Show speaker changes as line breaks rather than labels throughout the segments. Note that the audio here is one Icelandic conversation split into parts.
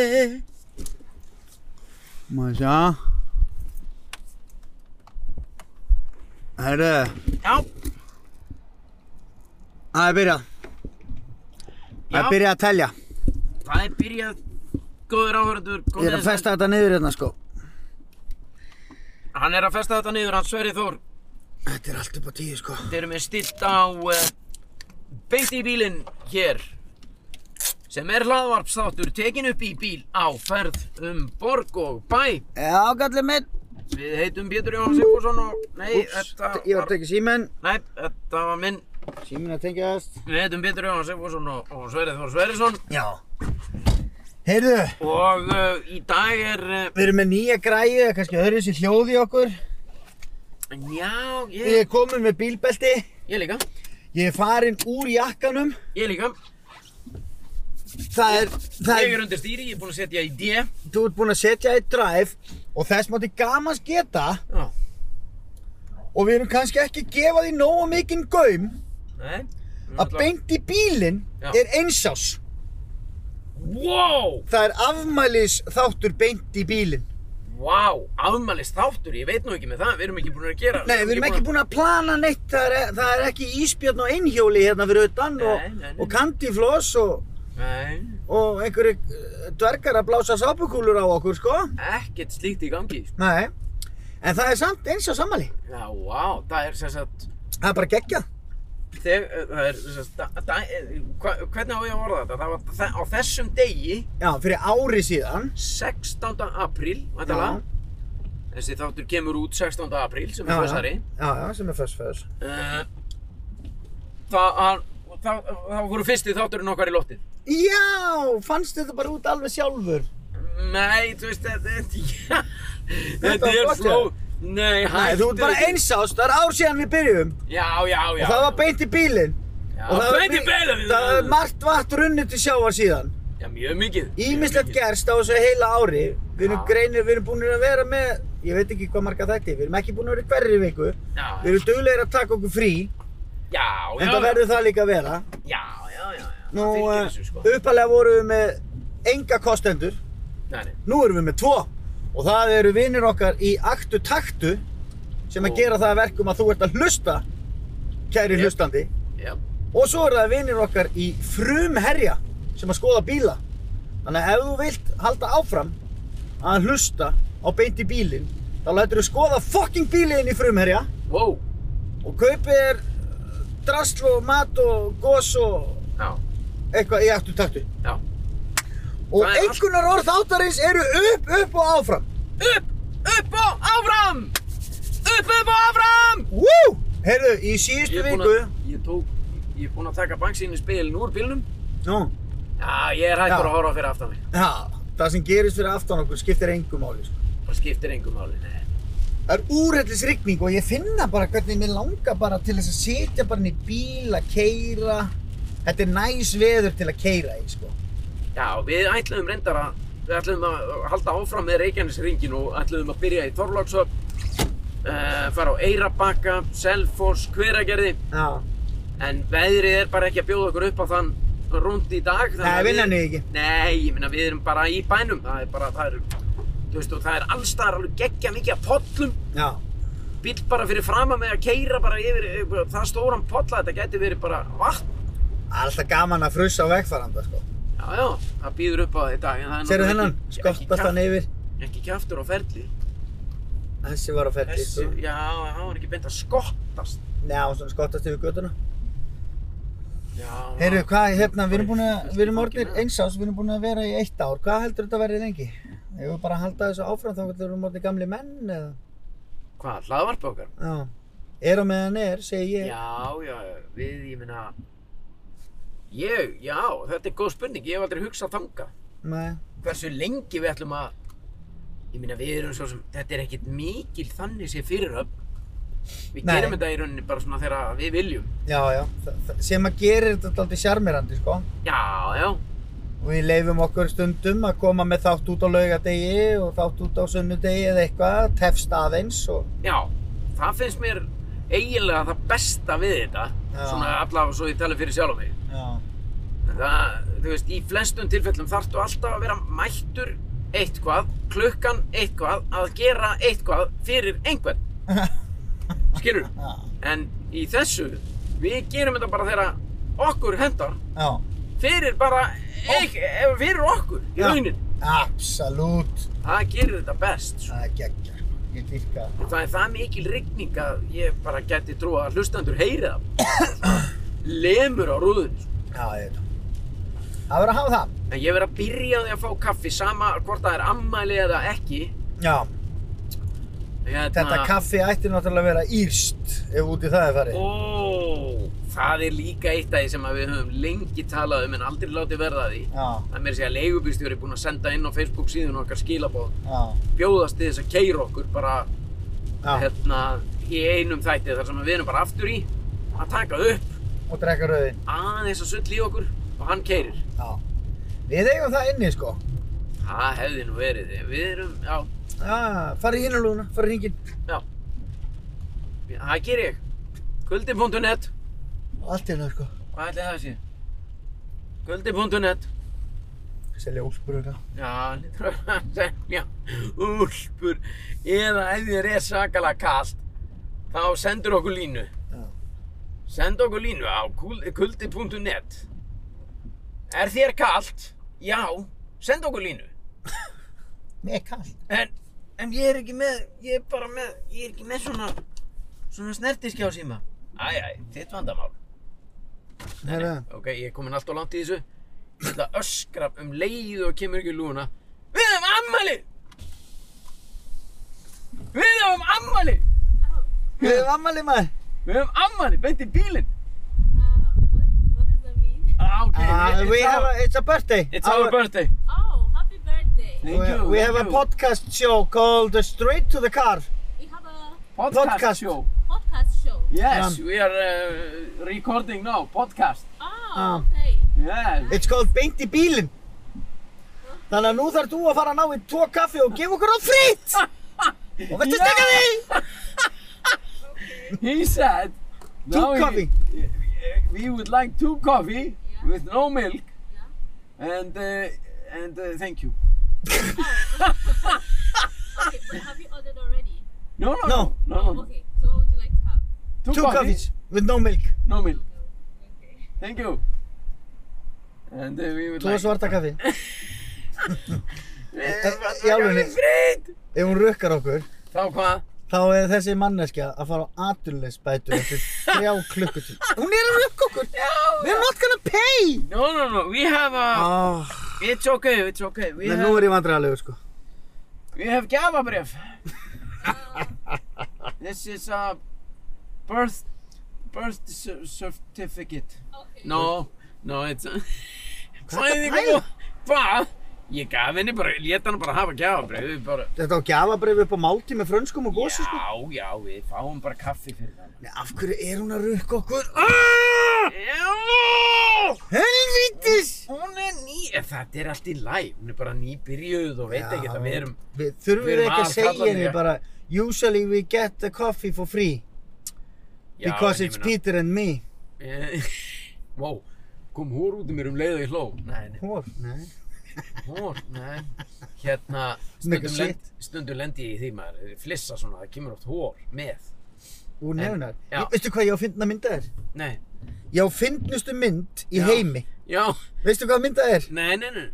Eee. Maşa. Herre.
Já,
Það er byrjað. Það
Já.
er byrjað að telja.
það er byrjað góður áhörður
Ég er að festa þetta niður hérna sko.
Hann er að festa þetta niður, hann Sverri Þór
Þetta er allt upp á tíu sko.
Þeir eru með stilt á uh, beint í bílinn hér sem er hlaðvarpstáttur tekin upp í bíl á ferð um borg og bæ
Já, gallið minn.
Við heitum Pétur Jóhann Sigfússon og nei,
Úps,
þetta
ég var að tekja síminn.
Nei, þetta var minn
Síminn að tengjast.
Við heitum Pétur Jóhann Sigfússon og, og Sverri Þór Sverrisson
Já. Heyrðu,
og uh, í dag er uh,
við erum með nýja græðu, kannski öðru sér hljóð í okkur.
Já,
Ég
ég,
er komin með bílbelti.
ég líka
Ég er farinn úr jakkanum.
Ég líka
Það er, það
Ég er undir stýri, ég er búinn að setja í D
þú ert búinn að setja í drive og þess mátti gamans geta
Já,
og við erum kannski ekki að gefa því nógu mikinn gaum
nei
að beint í bílinn
Já.
er einsás.
Wow,
Það er afmælis þáttur beint í bílinn.
wow, afmælist þáttur, ég veit nú ekki með það, við erum ekki búin að gera
Nei, við erum ekki búin að plana neitt, það er, e- það er ekki íspjörn og einhjóli hérna fyrir utan
Nei,
og,
nei, nei.
og kandifloss og,
Nei,
og einhverju eh, dvergar að blása sápukúlur á okkur, sko.
ekkert slíkt í gangi sko.
Nei, en það er samt einsás afmæli.
Já, wow, það er sem sagt
Það er bara geggjað.
Þegar, það er sem sagt, da, da, hva, hvernig á ég að orða þetta? Það var þe- á þessum degi,
Já, fyrir ári síðan.
16. apríl, væntanlega Þessi þáttur kemur út 16. apríl, sem er þessari
Já, já, sem er föss, föss.
uh, Það var, það, það voru fyrsti þátturinn okkar í lottið
Já, fannst þetta bara út alveg sjálfur?
Nei, þú veist, þetta, þetta,
Þetta
þetta
var
er
flott,
fló. Nei,
Nei, þú ert bara einsást, það er ár síðan við byrjum
Já, já, já.
og það var beint í bílinn
Já,
og það var
beint í
mi-
bílinn.
Það var margt vatn runnið til sjávar síðan
Já, mjög mikið. mjög
Ímislegt
mikið.
gerst á þessu heila ári Við erum
Já.
greinir, við erum búin að vera með ég veit ekki hvað marga þætti, við erum ekki búin að vera í hverri viku Við
Já,
erum duglegir að taka okkur frí
já, já.
en það verður það líka að vera
Já, já, já, já.
Nú, eh,
það fylgir þessu, sko.
uppalega vorum við með enga kostendur
Nei, nei.
Nú erum við með tvo og það eru vinnir okkar í aktu taktu sem
Ó.
að gera það að verkum að þú ert að hlusta, kæri
Jep.
hlustandi.
Já,
Og svo eru það vinnir okkar í frumherja sem að skoða bíla. Þannig að ef þú vilt halda áfram að hlusta á beint í bílinn, þá lætur þú skoða fucking bílinn í frumherja
wow.
og kaupir þér drasl og mat og gos og
Já,
eitthvað í aktu taktu.
já.
Og
Það er allt-
einhvernar orð þáttarins eru upp, upp og áfram.
Upp, upp og áfram! Upp, upp og áfram!
Woo! Heyrðu, í síðustu
er búinn
viku...
að, ég tók, ég er búinn að taka banksínu spilin úr bílnum.
Nú,
Já, ég er hættur
Já.
að horfa fyrir aftan mig.
já, það sem gerist fyrir aftan okkur skiptir engu máli. Sko.
Það skiptir engum máli, nei.
Það er úrhellis rigning og ég finna bara hvernig mér langar bara til þess að sitja bara inn í bíl að keyra. Þetta er næs veður til að keyra í, sko.
Já, við ætluðum reyndar að við ætluðum að halda áfram með Reykjanesringin og ætluðum að byrja í Þorlákshöfn uh, fara á Eyrabakka, Selfoss, Hveragerði
Já.
en veðrið er bara ekki að bjóða okkur upp á þann rúnd í dag þannig
Nei,
að
vinnan er ekki.
Nei, ég meina við erum bara í bænum það er bara, það er þú veist, og það er allstaðar alveg geggja mikið af pollum
Já.
bíl bara fyrir fram að með að keyra bara yfir, yfir það stóran polla, þetta gæti verið bara vatn
Alltaf gaman að frussa á vegfaranda, sko.
Já, já, það býður upp á það í dag en það er
Serðu
náttúrulega
þennan?
ekki- ekki
Skottast hann
kjaft-
yfir.
Ekki kjaftur á ferli
Þessi var á ferli,
Þessi,
sko.
já, hann var ekki beint að skottast.
Nei, hann svona skottast yfir göttuna.
Já.
Heyrðu, hvað, hérna, við erum búin að, við erum orðnir einsás, við erum búin að vera í eitt ár. Hvað heldur þetta að verði lengi? Ef við bara halda þessu áfram þá verðum við orðnir gamli menn eða?
Hvað, hlaðvarp okkar?
Já. Er á meðan er, segi ég.
Já, já, við, ég meina, ég, já, þetta er góð spurning, ég hef aldrei hugsað þangað.
Nei.
Hversu lengi við ætlum að, ég meina, við erum svo sem, þetta er ekkit mikil þannig sé fyriröfn. Við
Nei.
gerum þetta í rauninni bara svona þegar við viljum.
Já, já. Þa- þa- Sem að gerir þetta alltaf sjarmirandi, sko.
Já, já,
Og við leifum okkur stundum að koma með þátt út á laugadegi og þátt út á sunnudegi eða eitthvað, tefst aðeins og...
já, það finnst mér eiginlega það besta við þetta,
Já.
svona allavega svo ég tala fyrir sjálf mig.
Já.
En það, þú veist, í flestum tilfellum þarftu alltaf að vera mættur eitthvað, klukkan eitthvað, að gera eitthvað fyrir einhvern. Skilur?
Já.
En í þessu, við gerum þetta bara þegar okkur hendar
Já.
fyrir bara, eik, eh, fyrir okkur í
Já.
raunin.
Absolutt.
Það gerir þetta best. Svo.
Það er geggja. Ég dýrka það.
Það er það mikil rigning að ég bara geti trúa að hlustandur heyri það. Lemur á rúðun. Sko.
Já, ég veit það. Það verður að hafa það.
En ég verð að byrja á því að fá kaffi sama hvort það er ammæli eða ekki.
Já.
Hérna,
Þetta kaffi ætti náttúrulega að vera írst ef út í það er
Oh.
farið.
Ó, það er líka eitt af því sem að við höfum lengi talað um en aldrei látið verða að því.
Já.
Það er meira að segja leigubýrstjóri búinn að senda inn á Facebook síðun okkar skilabóð.
Já.
Bjóðast til þess að keira okkur bara
Já.
hérna í einum þætti þar sem við erum bara aftur í að taka upp
Og drekka rauðin.
aðeins að sull í okkur og hann keirir.
Já. Við eigum það inni, sko.
Það hefði nú verið. Við erum, já,
Já, farið hinn að lúna, farið hringinn.
já. Það ger ég. Kvöldi.net
Allt hérna, sko.
Hvað ætli það sé? Kvöldi.net
Selja úlpur og eitthvað.
Já, lítur að semja úlpur eða ef þér er sakalega kalt þá sendur okkur línu
Já.
send okkur línu á kul- kuldi.net Er þér kalt? Já, send okkur línu
Mér er kallt.
en, en ég er ekki með ég er bara með, ég er ekki með svona svona snertiskjá síma Æ, æ, þitt vandamál
Herra.
Ok, ég er komin allt og langt í þessu Ég ætla að öskra um leið og kemur ekki í lúna Við höfum ammali! Við höfum ammali!
Við erum ammali maður.
Við höfum ammali, beint í bílinn
Uh, what, what does that mean?
Ah, ok,
Uh, we have a, it's a birthday.
It's our, birthday
Oh, happy birthday!
Thank
We,
you,
we have a
thank you.
podcast show called Straight to the Car.
We have a
podcast.
show
podcast show.
Yes,
Um,
we are uh, recording now, podcast
Oh,
Um,
okay.
Yes
It's called Beint í bílinn. Þannig að nú þarf þú að fara að ná í tvo kaffi og gefa okkur á fritt. Og veistu
Yeah.
stekka því?
He said now he-
coffee.
We would like two coffee
Yeah.
with no milk
Yeah.
and, uh, and uh, thank you
Okay, but have you ordered already?
No, no,
No.
no, no,
Oh,
no.
okay. So what would you like to have?
Two,
Two
coffees.
coffees with no milk.
eh? No milk.
Okay.
Thank you. And uh, we would
Tvo
like...
svarta kaffi.
Eh,
í alvörunni?
alveg fritt!
Ef hún rukkar okkur,
Þá hvað?
þá er þessi manneskja að fara á atvinnuleysbætur eftir þrjá klukkutíl. Hún er að rukka okkur. We're not gonna pay.
No, no, no, we have a...
Ah,
It's okay, it's okay. We
en nú
have,
er ég vandræðalegur sko.
we have gjafabref. This is a birth... birth cer- certificate.
Okay.
No, no, it's a...
Hvað ertu að pæla?
Hvað? Ég gaf henni bara, lét hann bara hafa gjafabref. Við bara...
Þetta á gjafabrif upp á máltíð með frönskum og gósi sko.
Já, já, við fáum bara kaffi fyrir það.
Nei, af hverju er hún að rukka okkur?
Já!
Ah! Helvítis!
Hún er ný, en þetta er allt í læg, hún er bara nýbyrjuð og veit ekki að við erum,
Við þurfum
við
við
erum
ekki að
að
segja
kalla
henni
þér.
bara Usually we get the coffee for free
Já,
Because
en ég
it's
meina-
Peter and me
Eh, Vó, kom hór út um mér um leið og ég hló. Nei, nei,
Hór, nei
hór, nei. Hérna,
Make a
stundum, lend, stundum lendi ég í því maður, flissa svona, það kemur oft hór með.
Úr nefnar
já.
Veistu hvað ég á að fyndna mynda þér?
Nei,
Ég á fyndnustu mynd í
Já.
heimi
já,
Veistu hvað mynda er?
nei, nei, nei,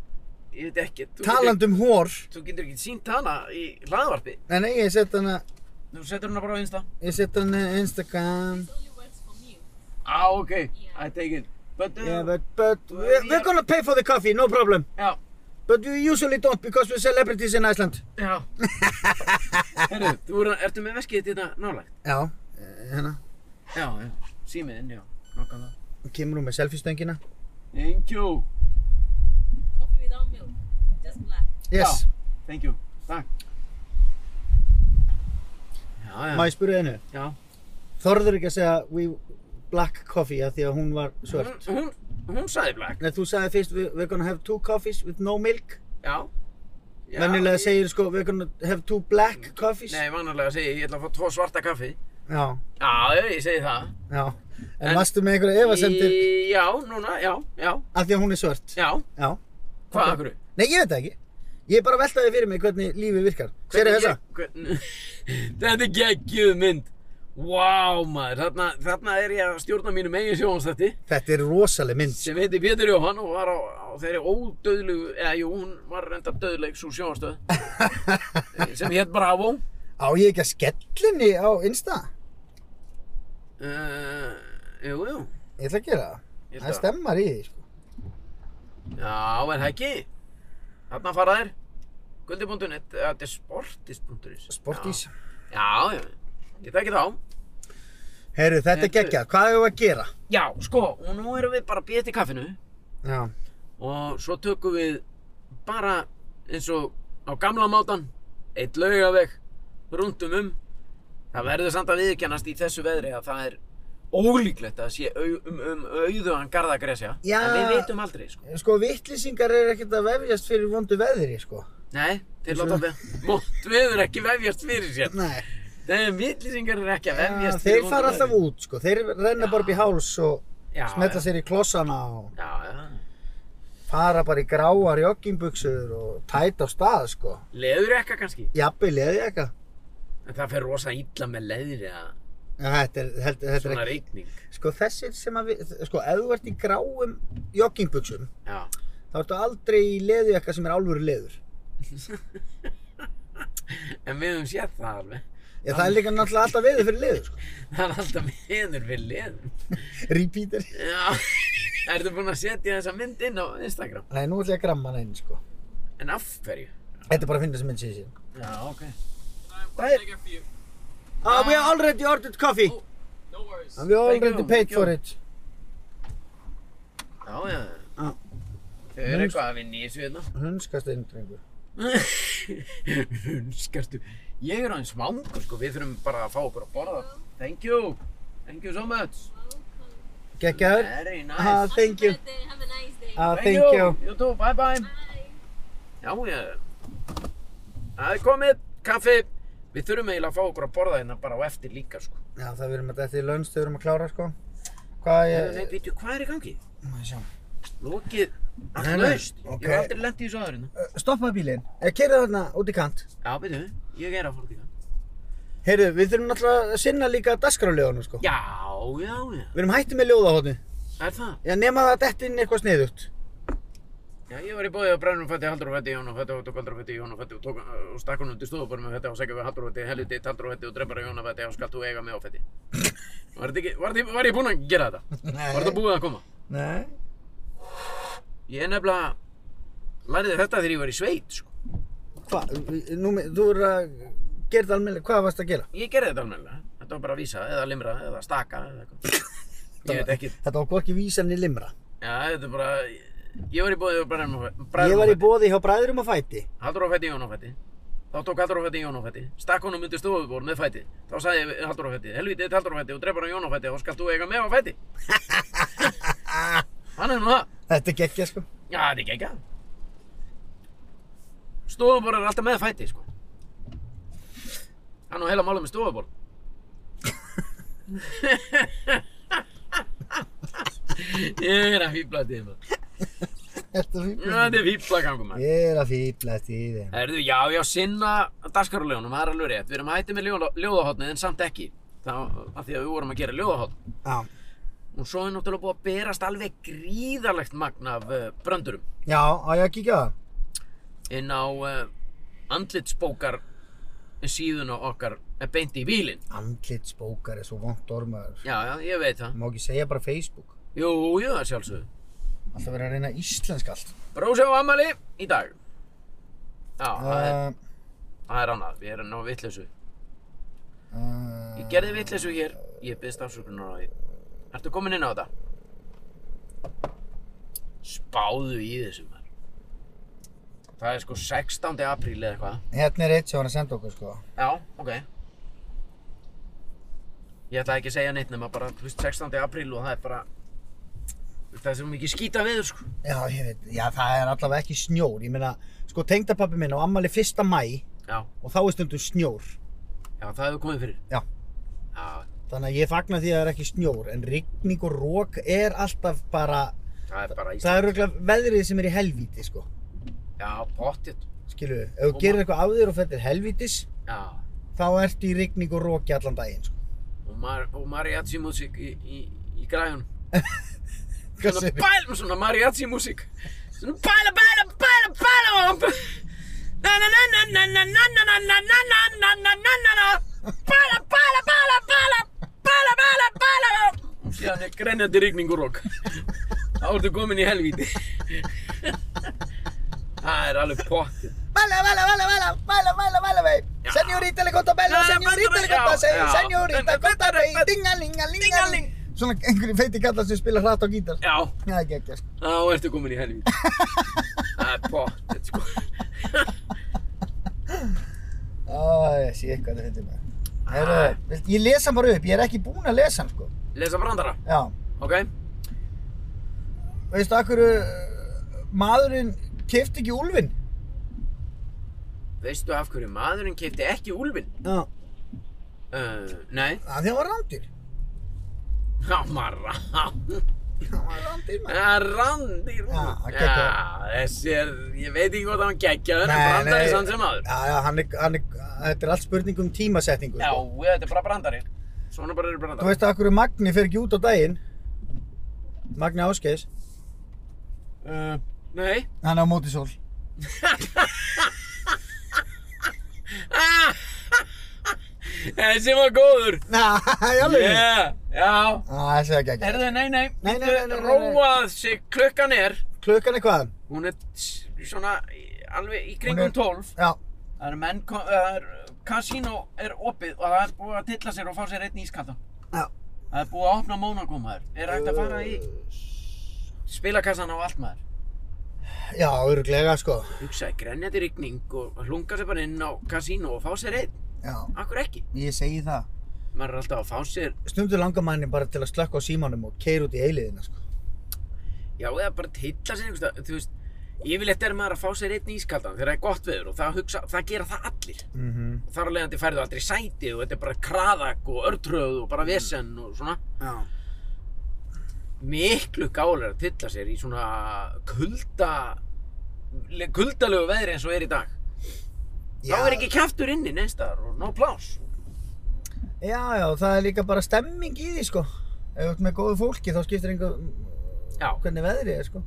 ég veit ekki. Þú getur-
Talandi um hór
Þú getur ekki sínt hana í hlaðvarpi,
Nei, nei, ég set hana
þú setur hana bara á einsta.
Ég set hana Instagram
It only works for me.
Á, ok, I take it. But, uh,
Yeah, but, but
We
we're,
are-
we're gonna pay for the coffee, no problem
já.
But we usually don't because we're celebrities in Iceland
Já Herru, þú er, ertu með veskið þitt þetta nálægt?
Já, eh, hérna
Já, já, símiðinn, já, nokkanlega
Kemur hún með selfie-stöngina
Thank you
Coffee without milk, just black.
Yes,
Já, thank you, takk Já, já,
má ég spyrja einu
já
Þorður ekki að segja we black coffee að því að hún var
hún,
svört.
hún, hún sagði black
Nei, þú sagði fyrst "We- we're gonna have two coffees with no milk.
Já, já
Venjulega
ég-
segir sko we're gonna have two black coffees.
Nei, vanarlega segi ég, ég ætla að fá tvo svarta kaffi
Já,
Já, já, ég segi það
já. En,
En-
varstu með einhverja efasendir
Í- Já, núna, já, já,
af því að hún er svört?
já.
Já.
Hvað,
Ok.
af hverju?
Nei, ég veit það ekki. Ég er bara að velta því fyrir mig hvernig lífið virkar. Sér
Hvernig
þessa?
ég- Hvernig... Þetta er geggjuð mynd. Vá, maður, þarna, þarna er ég að stjórna mínum eigin sjónastætti
Þetta er rosaleg mynd.
sem heiti Pétur Jóhann og var á, á þeirri ódöðlegu, eða jú, hún var reyndar döðleg svo sjónastöð sem hétt Bravo.
Á ég ekki að skellinni á Insta?
Uh, jú, jú.
Ég ætla að gera það.
Ég
Það
ætla-
stemmar í því, sko.
Já, er það ekki? Þarna fara þær. Guldi.net, eða þetta er sportis.is.
Sportís.
Já, já, já. Ég þekki þá.
Herru, þetta er
Heyrðu.
geggjað. Hvað hefur að gera?
Já, sko, og nú erum við bara að býja til kaffinu
Já.
og svo tökum við bara eins og á gamla mátan, eitt laugaveg, rundum um. Það verður samt að viðkennast í þessu veðri að það er ólíklegt að sé au, um, um auðugan garðagresja.
Já.
En við vitum aldrei, sko.
Sko, vittlýsingar er ekkert að vefjast fyrir vondu veðri, sko.
Nei, þeir
Eins og-
láta við, mótt viður ekki vefjast fyrir sér.
Nei.
Nei, vittlýsingar eru ekki að
Ja,
vefjast
þeir fara alltaf út, sko. Þeir renna
Já.
bara upp í háls og
já,
smetla sér í klossana og
Já, já.
fara bara í gráar joggingbuxur og tæta á stað, sko.
Leður ekka kannski.
Jafnvel, eða ég eitthvað.
En það fer rosa illa með leður eða
Já, þetta er, þetta, þetta er
svona
ekki,
rigning.
sko þessir sem að við, sko ef þú ert í gráum joggingbuxum,
Já.
þá ertu aldrei í leðujakka sem er alvöru leður.
En við höfum séð það alveg.
Já, það er líka náttúrulega alltaf veður fyrir leður, sko.
Það er alltaf viður við leður.
Repeater.
Já. Ertu búinn að setja þessa mynd inn á Instagram?
Nei, nú ætla ég að gramma hann einn, sko.
En af hverju?
Þetta er bara að finna sem minn sér síðan.
Já, ok.
Hvað er? Ah, we have already ordered coffee.
Oh,
And we already
Thank you,
paid
thank
for
you.
it.
Já, já.
Já.
Þau eru eitthvað að vinna í þessu hérna.
Hunskast einn drengur.
Hundskartu, ég er aðeins svangur sko, við þurfum bara að fá okkur að borða. Thank you, thank you so much.
Gekkjaður.
Very
Ah,
nice.
thank you.
birthday. Have a nice day.
Ah, thank you.
You too, bye bye.
Bye.
Já, ég, það er komið, kaffi. Við þurfum eiginlega að fá okkur að borða hérna bara á eftir líka sko.
Já, það verðum að þetta er lönns, þau verðum að klára, sko. Hvað
Yeah. Nei,
ég...
veitu, hvað er í gangi?
Má ég sjá.
Lokið, allt
Nei, nei,
laust. Ég hef
ok.
aldrei lent í þessu aður hérna.
Ö, Stoppaðu Eh, bílinn. Kerðu þarna út í kant.
Já, veitu, ég er að fara út í það.
Heyrðu, við þurfum náttúrulega að sinna líka dagskráleganum, sko.
Já, já, já,
Við erum hættið með ljóðahotni.
er það?
Já, nema það að detta inn eitthvað sniðugt.
Já, ég var í bóðið á brennum fætti, haldur og fætti, Jón og fætti, og tók haldur og fætti, Jón og fætti, og tók og stakk hún undir stofuborðum og fætti, og segja við haldur og fætti, helviti, taldur og fætti, og drefbara Jón og fætti, og skalt þú eiga mig á fætti. Var, þetta ekki, var, þetta- var ég búinn að gera þetta?
Nei.
Var þetta búið að koma?
Nei.
Ég er nefnilega, lærði þetta þegar ég var í sveit, sko.
Hvað, nú, með- þú verður að gera þetta almennilega, hvað varst að gera?
Ég gerði þetta almennilega. Þetta var bara að vísa, eða limra, eða staka, eða eitthvað. Ég veit ekki.
Þetta var hvorki vísan í limra.
Já, þetta er bara, ég var í bóðið á brennum
Ég var í
fætti,
bóði hjá bræðurum að fæti.
haldur og fætti, Jón og fætti. Þá tók Hallrófætti Jónófætti, stakk honum undir stofuborð með fæti. Þá sagði ég Hallrófætti, helvítið Hallrófætti og drefur hann Jónófætti og skalt þú eiga með á fæti. Hann er nú það.
Þetta er geggja, sko.
Já, þetta er ekki ekki. Stofuborð er alltaf með fæti, sko. Hann á heila mála með stofuborð. ég er að fýbla þetta í maður.
Þetta er fíbla.
Þetta er fýbla gangum maður.
Ég er að fíbla eftir í þeim.
Erðu, já, já, sinna dagskarulegunum, það er alveg rétt. Við erum hættið með ljó, ljóðahotnið en samt ekki. Þá, af því að við vorum að gera ljóðahotn.
Já.
Og svo er náttúrulega búið að berast alveg gríðarlegt magn af uh, bröndurum
Já, á ég að kíkja á það?
inn á uh, andlitsbókar síðun og okkar eh, beint í bílinn.
Andlitsbókar er svo vont ormaður.
Já, já, ég veit það.
Má ekki segja bara Facebook.
Jú, jú, það sjálfsögðu.
Alltaf verið að reyna íslensk allt.
Brósi á ammali í dag. Já, það er,
Uh,
það er annað. Við erum ná vitleysu.
uh,
Ég gerði vitleysu hér. Ég byrðst afsökunar á því. Ertu komin inn á þetta? Spáðu í þessu maður. Það er sko 16. apríl eða eitthvað.
Hérna er eitt sem var að senda okkur, sko.
Já, ok. Ég ætla ekki að segja neitt nema bara, þú veist, 16. apríl og það er bara... Það er svo mikið skýta veður sko.
Já, ég veit, já, það er allavega ekki snjór. Ég meina, sko, tengdapappi minn á ammali 1. mæ
Já,
og þá er stundum snjór.
já, það hefur komið fyrir.
Já.
Já,
Þannig að ég fagna því að það er ekki snjór, en rigning og rók er alltaf bara,
Það er bara Ísland.
það er auðvitað veðrið sem er í helvíti, sko.
Já, pottitt.
Skilu, ef
Og
þú gerir eitthvað af þér og þetta er helvítis,
Já.
þá ertu í rigning og róki allan daginn, sko.
Og, mar og mariachi músík í, í, í græjun.
Hvað
Svona
segirðu?
bæla, svona mariachi músík. Svona bæla, bæla, bæla, bæla. Na na na na na na na na na na na na na na na na na Bæla, bæla, bæla, bæla, bæla, bæla, bæla. Og síðan er grenjandi rigning og rokk. Þá ertu komin í helvíti. Það er alveg pottitt.
Bala, bala, bala, bala, bala, bala, bala, vei.
Já.
Senjorita le conta bello,
Já,
senjorita le
já,
conta
já.
segir, senjorita
En-
conta vei,
en-
dingalingalingaling.
Dingaling.
Svona einhverju feiti kallar sem spila hratt á gítar.
Já,
Já, ekki, ekki, sko.
þá ertu komin í helvíti. Það er pottitt, sko.
Æ, sé eitthvað þetta fyrir mig.
Ah.
Heru, ég lesa hann bara upp, ég er ekki búinn að lesa hann, sko.
Lesa brandara,
Já,
ok?
veistu, akkur maðurinn eh, kefti ekki úlfinn?
Veistu af hverju maðurinn keipti ekki úlfinn?
Já.
Uh, nei,
Það því hann var rándir.
hann var rann.
Hann var rándir, maður.
Hann randir úr.
Já, hann
Ah, Já,
geggjaður.
þessi er, ég veit ekki hvort hann geggjaður, en
Nei,
brandari
nei.
sann sem maður.
Já, já, hann er, hann er, þetta er allt spurning um tímasetningu,
Já,
sko.
ég, þetta er bara brandari. Svona bara eru
Þú
brandari.
veist að akkur Magni fer ekki út á daginn Magni Áskeiðs
Uh, nei.
Hann er á móti sól
Ah, þessi var góður.
Næ, í alveg yeah.
Yeah, já.
Það segja ekki ekki
Herðu, nei, nei,
Nei, nei, nei, nei, nei, nei.
Róað sig klukkan er,
Klukkan er hvaðan?
hún er s- svona í- alveg í
Hún
kringum
er-
tólf.
Já,
Það eru menn, ko- það er, kasínó er opið og það er búið að tilla sér og fá sér einn ískaldan.
já
Það er búið að opna Mónakó maður. Er hægt að fara í spilakassan á allt maður?
Já, öruglega sko
Hugsaði, grenjandi rigning og hlunga sér bara inn á kasínó og fá sér einn.
Já,
Akkur ekki?
ég segi það
Maður er alltaf að fá sér,
Stundur langar manni bara til að slökka á símanum og keira út í eiliðina sko
já eða bara tilla sér einhverstað, þú veist. Yfirleitt er maður að fá sér einn ískaldan þegar það er gott veður og það, hugsa, það gera það allir.
mm
Og þar að leiðandi færðu aldrei sæti og þetta er bara kraðak og örtröð og bara vesen og svona.
Já
miklu gálar að tilla sér í svona kulda le- kuldalegu veðri eins og er í dag þá er ekki kjaftur inni neinstaðar og no plás
Já, já, það er líka bara stemming í því sko Ef þú ert með góðu fólki þá skiptir einhver
já,
hvernig veðrið er sko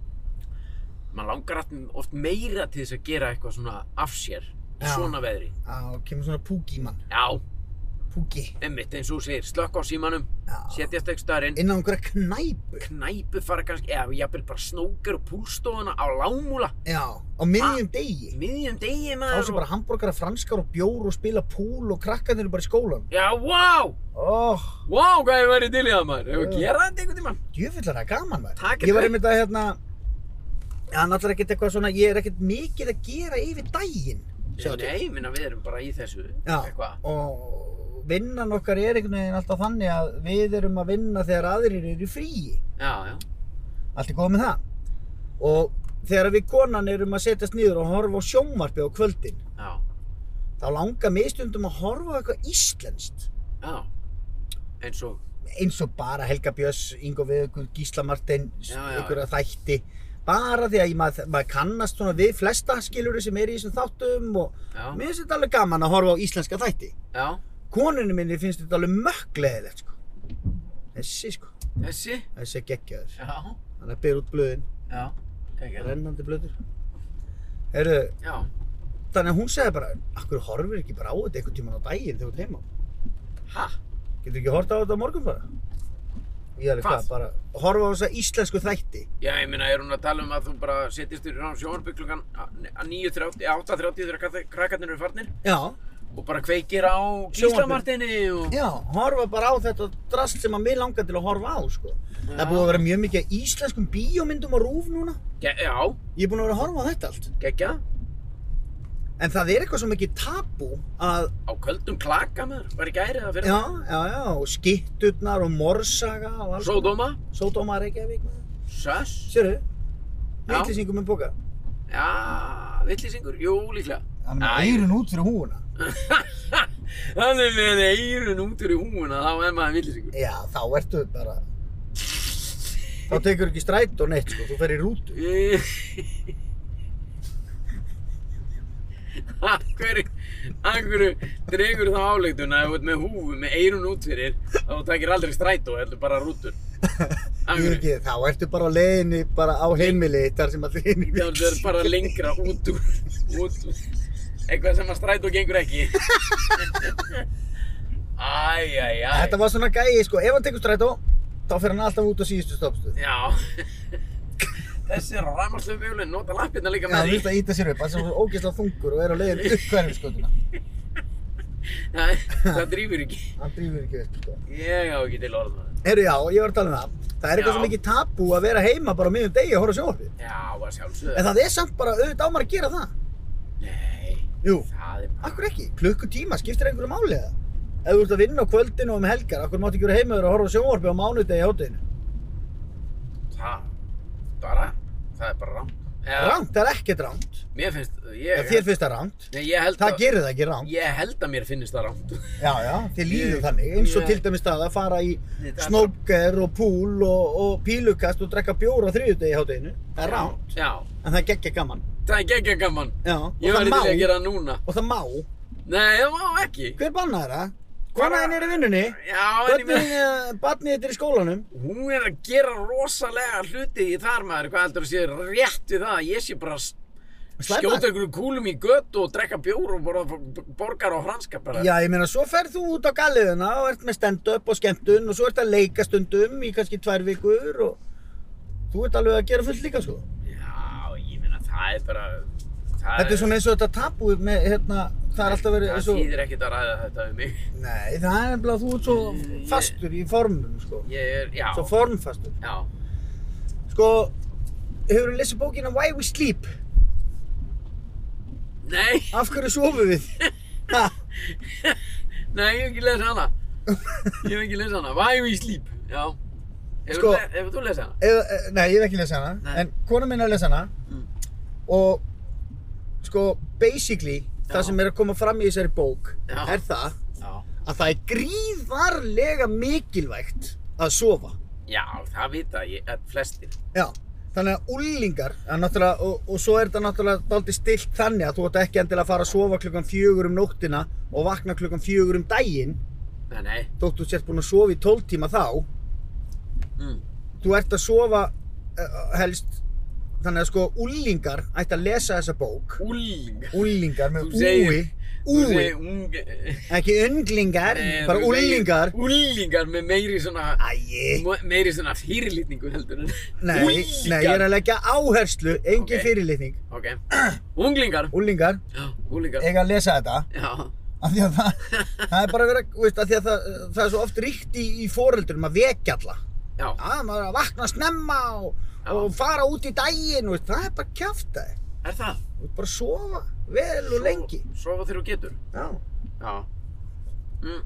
maður langar allt- oft meira til þess að gera eitthvað svona af sér í
Já.
svona veðri
Já, kemur svona púki mann
já,
Púki
einmitt eins og þú segir, slökk á símanum
Já.
setjast ekki staðarinn,
Inn á einhverja knæpu
knæpu fara kannski eða jafnvel bara snóker og púlstofuna á lámúla
Já, á miðjum
Ah.
degi.
miðjum degi
Þá
maður
sem bara hambúrgara, franskar og bjór og spila púl og krakkarnir eru bara í skólan.
og... já, wow,
Oh,
wow hvað ég væri til í það maður ef við
Já.
gera þetta einhvern tímann
djöfullar það er gaman maður.
Takk
Ég var
þetta.
einmitt að hérna, já náttúrulega ekkert eitthvað svona, ég er ekkert mikið að gera yfir daginn.
Já,
sjáðu.
Nei, minna við erum bara í þessu
Já,
eitthvað.
og vinnan okkar er einhvern veginn alltaf þannig að við erum að vinna þegar aðrir eru í fríi.
Já, já,
Allt er góð með það. Og þegar við konan erum að setjast niður og horfa á sjónvarpi á kvöldin,
já,
þá langar mig stundum að horfa á eitthvað íslenskt.
já eins og,
eins og bara Helga Björns, Ingo Viðugur, Gísla Martin,
Já, já,
einhverja þætti bara því að ég, maður, maður kannast svona við flesta skilurðu sem er í þessum þáttum og
já,
mér finnst þetta alveg gaman að horfa á íslenska þætti
já,
konunni minni finnst þetta alveg mökkleðilegt sko. þessi sko,
þessi,
þessi er geggjaður
já,
hann er byrð út blöðin,
já, kegja,
rennandi blöður Heyrðu,
já,
þannig að hún segði bara akkur horfir ekki bara á þetta einhvern tíman á daginn þegar þú ert heima
ha,
getur ekki horta á þetta á morgun bara ég er hvað,
Hvað?
bara horfa á þessa íslensku þætti
já, ég minna, er hún að tala um að þú bara setjist þér á sjónarby klukkan að 9.30, 8.30 þegar krakka- krakkarnir eru farnir
já,
og bara kveikir á gíslamartinni og,
Já, horfa bara á þetta drast sem að mér langar til að horfa á, sko. Það er búið að vera mjög mikið af íslenskum bíómyndum á rúf núna.
Ge- já,
Ég er búinn að vera að horfa á þetta allt.
kegja,
En það er eitthvað svo mikið tabú að,
á köldum klaka maður, var í gæri það fyrir
já, já, já, og skitturnar og morsaga og alls.
Sódóma,
Sódóma Reykjavík, maður.
Söss,
Sérðu?
Já.
Vittlýsingum um bóka.
já, villisingur, jú, líklega.
Hann
er með Æ. eyrun
út fyrir húuna.
Þannig með eirun út úr í húuna, þá er maður villisingur.
Já, þá ertu bara... Þá tekur ekki stræt og neitt, sko. Þú fer í rútu.
Af hverju, af hverju dregur þá áleitun að ef þú ert með húfu með eirun út fyrir þá takir aldrei strætó, heldur bara rútur. Af
Ég
hverju?
ekki, þá ertu bara á leiðinni, bara á heimili þar sem að þín
Já, það er bara lengra út úr, út úr, eitthvað sem að strætó gengur ekki. Æ, æ, æ.
Þetta var svona gæi, sko, ef hann tekur strætó, þá fer hann alltaf út á síðustu stoppstöð.
Já. Þessi rafmagnslöfbjólinn nota lappirna líka
Já, hann
með
vildi
því.
að íta sér upp, hann sem er ógeðslega þungur og er á leiðinni upp hverfiskötuna.
Það, það drýfur ekki.
Hann drýfur ekki upp, sko.
Ég á ekki til orða.
Heyrðu, já, ég var að tala um það. Það er eitthvað
Já.
svo mikið tabú að vera heima bara á miðjum degi og horfa á sjónvarpið.
Já, að sjálfsögðu.
En það er samt bara auðvitað á maður að gera það.
Nei,
Jú,
það er bara...
akkur ekki. Klukkutíma skiptir einhverju máli eða? Ef þú ert að vinna á kvöldinu og um helgar, akkur máttu ekki vera heima og horfa á sjónvarpið á mánudegi hátteginu.
Það... Bara... Það er bara rangt. Eða,
Rangt, það er ekkert rangt.
Mér finnst...
Eða
Ég,
Þér finnst það rangt.
Nei, ég held
Það gerir það ekki rangt.
Ég held að mér finnist það rangt.
Já, já, þið líður
Ég-
þannig. Eins og
ég-
til dæmis það að fara í
Nei, það er
snóker og púl og, og pílukast og drekka bjóra þriðjudegi hátteginu. Það er rangt,
Já.
en það er geggja gaman.
Það er geggja gaman.
Já, og
Ég
það
verði til í að
má,
gera það núna.
og það má.
Nei, það má ekki.
Hver bannaði það? Konaðin er í vinnunni?
Já, en ég með...
Börnin, eh, Barnið þetta er í skólanum?
hún er að gera rosalega hluti í þar maður, hvað heldur að sé rétt við það að ég sé bara að s-
Slæpa?
skjóta einhverju kúlum í götu og drekka bjór og borða b- borgar og franska bara
Já, ég meina, svo ferð þú út á galliðuna og ert með stand-up og skemmtun og svo ert að leika stundum í kannski tvær vikur og þú ert alveg að gera fullt líka, sko.
Já, ég meina það er bara það
Þetta er svona eins og þetta tabu með, hérna, það er alltaf verið
það
eins og...
þýðir ekkert að ræða þetta við mig
Nei, það er nefnilega að þú ert svo
Ég-
fastur í formum, sko.
ég er, já,
Svo formfastur.
já
Sko, hefur þú lesið bókina Why We Sleep?
nei,
Af hverju sofum við? Ha,
nei, ég hef ekki lesa hana ég hef ekki lesa hana, why we sleep já, hefur
Sko-
sko, le hefur þú lesa hana?
eða, e- nei, ég hef ekki lesið hana,
Nei.
en kona mín er að lesa hana
Mm.
og sko, basically, það
Já.
sem er að koma fram í þessari bók
Já.
er það
já,
að það er gríðarlega mikilvægt að sofa.
já, það vita ég, eh, flestir
Já, þannig að ullingar, að náttúrulega, og, og svo er þetta náttúrulega dálítið stillt þannig að þú átt ekki endilega að fara að sofa klukkan fjögur um nóttina og vakna klukkan fjögur um daginn,
nei, nei,
þótt þú sért búin að sofa í 12 tíma þá,
mm.
þú ert að sofa eh, helst, þannig að sko ullingar ætti að lesa þessa bók.
úling
Úlingar með
Þú segir-
úi
Þú
Úi,
segir ung-
ekki unglingar,
Nei,
bara
þú segir
úlingar
Úlingar með meiri svona
Æi,
meiri svona fyrirlitningu heldur en
nei, nei, ég er að leggja áherslu, engin
Ok.
fyrirlitning
Ok, unglingar
Úlingar,
Já, Úlingar
eiga að lesa þetta
Já,
af því að það, það er bara verið, að- veist, af því að það, það er svo oft ríkt í, í foreldrum að vekja alla
já,
Já, maður er að vakna snemma og,
Já.
og fara út í daginn, veist, það er bara kjaftaði
er það?
Þú ert bara að sofa vel og lengi
Sofa þegar þú getur
Já
Já mm,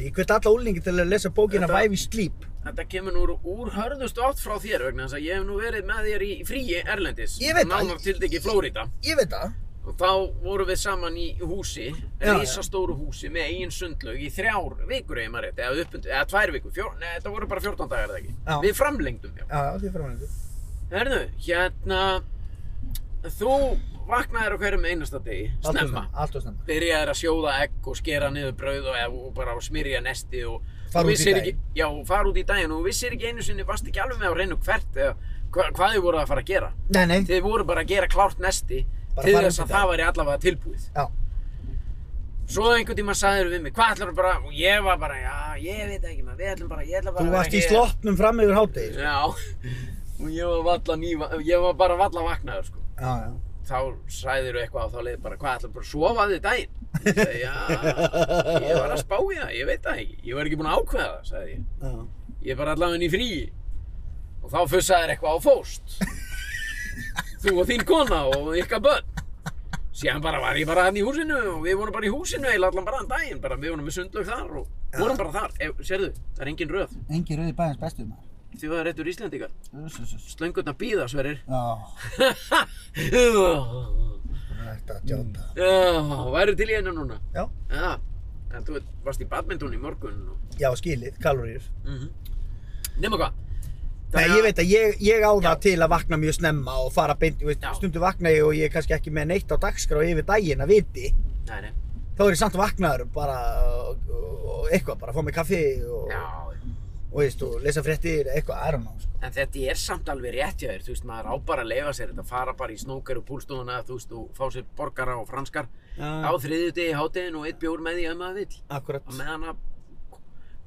Ég hvet alla úlingi til að lesa bókina
Þetta-
Væfi Slíp
Þetta kemur nú úr hörðust átt frá þér vegna þess að ég hef nú verið með þér í fríi Erlendis
Ég veit það.
Nánar tildegi Flórida
Ég veit það
Og þá vorum við saman í húsi,
Já, já.
risastóru húsi með eigin sundlaug í þrjár vikur eða maður rétt, eða uppundu, eða tvær vikur, fjór, neða þetta voru bara 14 dagar eða ekki.
Já.
Við framlengdum, já.
Já, já, því fyrir hann
Herðu, hérna, þú vaknaðir á hverjum einasta degi, snemma.
Allt og snemma
Byrjaðir að sjóða egg og skera niður brauð og, eða- og bara og smyrja nesti og...
Fara
og
út í
vissir
daginn.
Ekki, já, og fara út í daginn og þú vissir ekki einu sinni, varst ekki alveg með á reynu hvert eða hva, hvað þið voru að fara að gera.
Nei, nei
Þið voru bara að gera klárt nesti
Mm. Bara
til
fara út
þess
í
að
dag.
það væri allavega tilbúið.
Já,
Svo einhvern tíma sagðir við mig, hvað ætlar þú bara, og ég var bara, já, ég veit ekki maður, við ætlum bara, ég ætla bara
þú
að vera
varst í
hér."
slottnum fram yfir hádegi sko.
Já, og ég var valla nýva, ég var bara valla vaknaður, sko.
Já, já
Þá sagðir þú eitthvað og þá leiði bara, hvað ætlar bara að sofa þig daginn? Ég sagði, já, ég var að spá í það, ég veit það ekki, ég var ekki búinn að ákveða það, sagði ég.
Já,
Ég er bara allavega í fríi. Og þá fussaðir eitthvað á fóst. þú og þín kona og ykkar börn. Síðan bara var ég bara hann í húsinu og við vorum bara í húsinu eiginlega allan bara hann daginn, bara við vorum með sundlaug þar og vorum bara þar. Ef, sérðu, það er engin röð.
engi rauði bæðins bestu
Því það er réttur Íslendingar.
maður
Slöngurna býða, sverir.
Já,
Þetta
hægt að djóta.
Já, væri til í einu núna?
Mm.
Já.
Já, Ah, en þú varst í badminton í morgun og...
Já, skilið, kaloríur.
Mm Nefna hvað?
Mhm. Nei, ég veit að ég, ég á það
Já.
til að vakna mjög snemma og fara beint, þú veist,
Já.
stundu vakna ég og ég er kannski ekki með neitt á dagskrá yfir daginn að viti.
Nei, nei.
Þá er ég samt vaknaður bara og, og eitthvað, bara fá mig kaffi og,
Já,
og, veist, og lesa fréttir, eitthvað, I don't know, sko.
en þetta er samt alveg rétt hjá þér, þú veist, maður á bara að leifa sér þetta, fara bara í snóker og púlstofuna, þú veist, og fá sér borgara og franskar á
Já,
þriðjudegi hátegin og eitt bjór með því að maður vill.
akkurat.
Og meðan að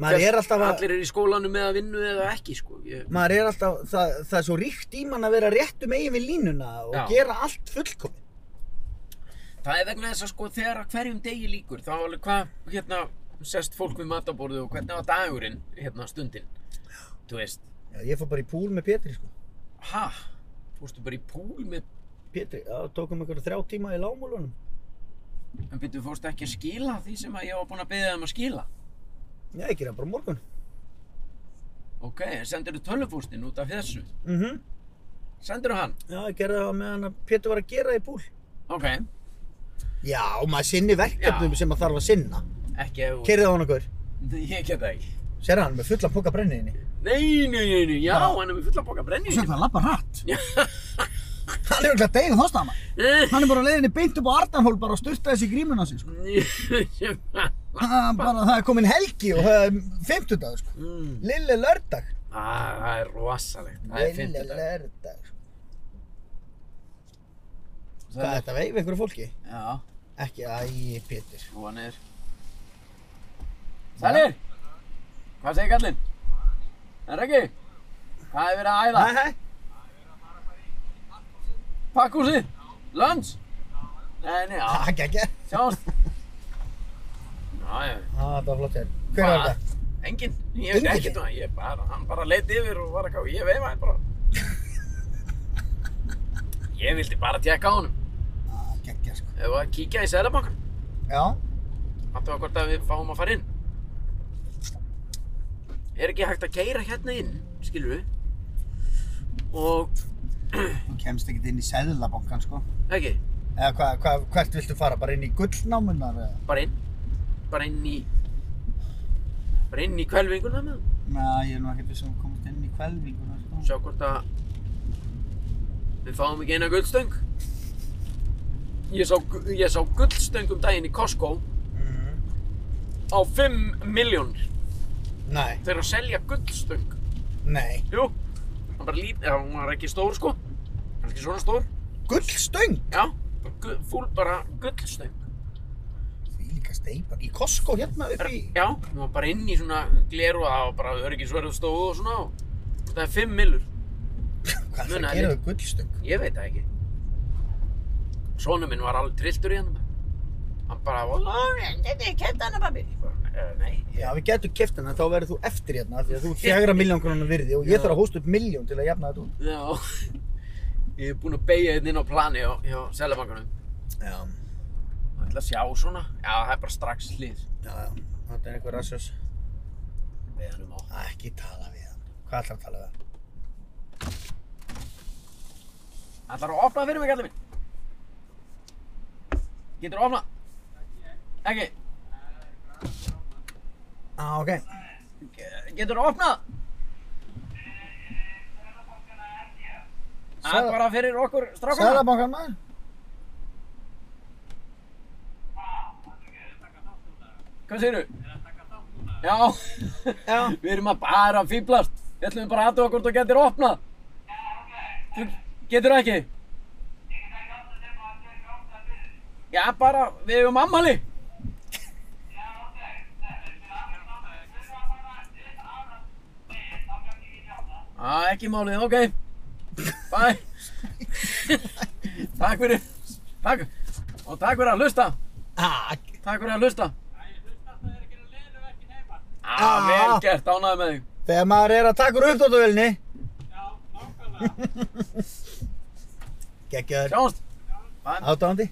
Maður er
flest-
alltaf að...
allir eru í skólanum með að vinnu eða ekki, sko. Ég,
maður er alltaf, það, það er svo ríkt í mann að vera réttu megin við línuna og
Já.
gera allt fullkomið.
það er vegna þess að sko þegar að hverjum degi líkur, þá alveg hvað, hérna, sest fólk við mataborðu og hvernig var dagurinn, hérna, stundin, þú veist,
Já, ég fór bara í púl með Pétri, sko.
ha, fórstu bara í púl með,
Pétri, já, tókum einhverja þrjá tíma í lámúlunum.
en byrju, fórstu ekki að skila því sem að ég var búin að beðið um að skila?
Já, ég gera bara á morgun.
Ok, en sendirðu tölvupóstinn út af þessu?
Mhm.
Sendirðu hann?
Já, ég gerði það með hann að Pétur var að gera í púl.
Ok,
Já, maður sinni verkefnum
Já.
sem maður þarf að sinna.
ekki ef þú...
Keirði á hann okkur.
Nei, Ég get það ekki.
Sér hann með fullan poka brenniðinni.
Nei, nei, nei, nei, já, hann er með fulla boka
Svo
brennivín.
það lappa hratt.
Já.
Hann er auðvitað að deyða þóstama.
Nei,
Hann er bara á leiðinni beint upp á Arnarhól bara og sturta þessi grímuna sig, sko. Ah, Bara það er komin helgi og
eh,
það er fimmtudag, sko.
Mm.
Lille lördag.
Á, Ah, Það er rosalegt, það er fint þetta.
lördag, sko.
Hvað er þetta veif einhverju fólki?
Já,
Ekki, æ, Pétur.
hrúa niður. Sælir! Hvað segir kallinn? Er ekki? Hvað er verið að æða?
Æ, hæ,
Pakkhúsið? Lunch? Nei, nei, já,
takk ekki.
sjáumst. Já, já.
Á, það var flott hér. Hver var þetta?
Engin, ég veit
Enginn?
ekkert um það, ég bara, hann bara leitt yfir og var að ká, ég veifaði bara. ég vildi bara tjekka á honum,
Ah, geggja, sko.
ef að kíkja í Sælabankan,
Já.
hattu að hvort að við fáum að fara inn. Er ekki hægt að keira hérna inn, skilur við? Og,
Þú kemst ekkert inn í seðlabankan, sko.
ekki,
Eða hva, hva, hvert viltu fara? Bara inn í gullnámunar? eða?
bara inn, bara inn í, bara inn í kvelvinguna með, honum.
Nei, ég er nú ekkert við
um
sem komist inn í kvelvinguna, sko.
sjá hvort að við fáum ekki eina guldstöng. Ég sá, gu- ég sá guldstöng um daginn í Costco.
Mm.
á 5 miljónir
Nei,
þeir eru að selja guldstöng
nei.
jú hann bara lít já, hún var ekki stór sko kannski svona stór
Gullstöng?
já bara gu- fúl bara guldstöng
Því líka steipa. Í Costco hérna upp í...
já hún var bara inn í svona gleru og það var bara öryggisverðu stóð og svona og það er 5 millur
Hvað er það
munaði.
að gera við gullstöng?
ég veit það ekki sonu minn var alveg trilltur í hann hann bara "Ó, þetta er kent hann pabbi Ég bara, "Eh, nei
Já, við getum keft hennar, þá verður þú eftir hérna, af því að þú er
Ég-
4 miljón krónar virði og ég
Já.
þarf að hósta upp miljón til að jafna þetta út.
já ég er búinn að beigja hérna inn á plani hjá, hjá Sælabankanum
Já,
Það ætla að sjá svona. Já, það er bara strax hlið.
já, já, þetta er eitthvað rassjós.
Við erum á.
Ekki tala við hann. Hvað ætlar að tala við hann?
Það ætlar að opna fyrir mig, kallið minn. Getur að opna? Ekki.
Á, ah, ok.
Ge- Getur að opna? Það er
Seðla-
bara fyrir okkur strákana.
Seðlabankan, maður?
Hvað segir þú? Er það að taka þátt núna? Já.
Já.
Við erum að bara að fýblast. Við ætlum bara aðtöða hvort þú getur að opna. Þú getur ekki? Já, bara, við hefum ammali. Já, ekki málið, ok. Bæ. takk fyrir. Takk. Og takk fyrir að hlusta.
Ah,
Takk fyrir að hlusta. Já,
Ah.
vel gert, ánæði með þig.
þegar maður er að taka úr uppdóttavelni. Gekkjaður.
Sjáumst. Bæ.
Átáðandi.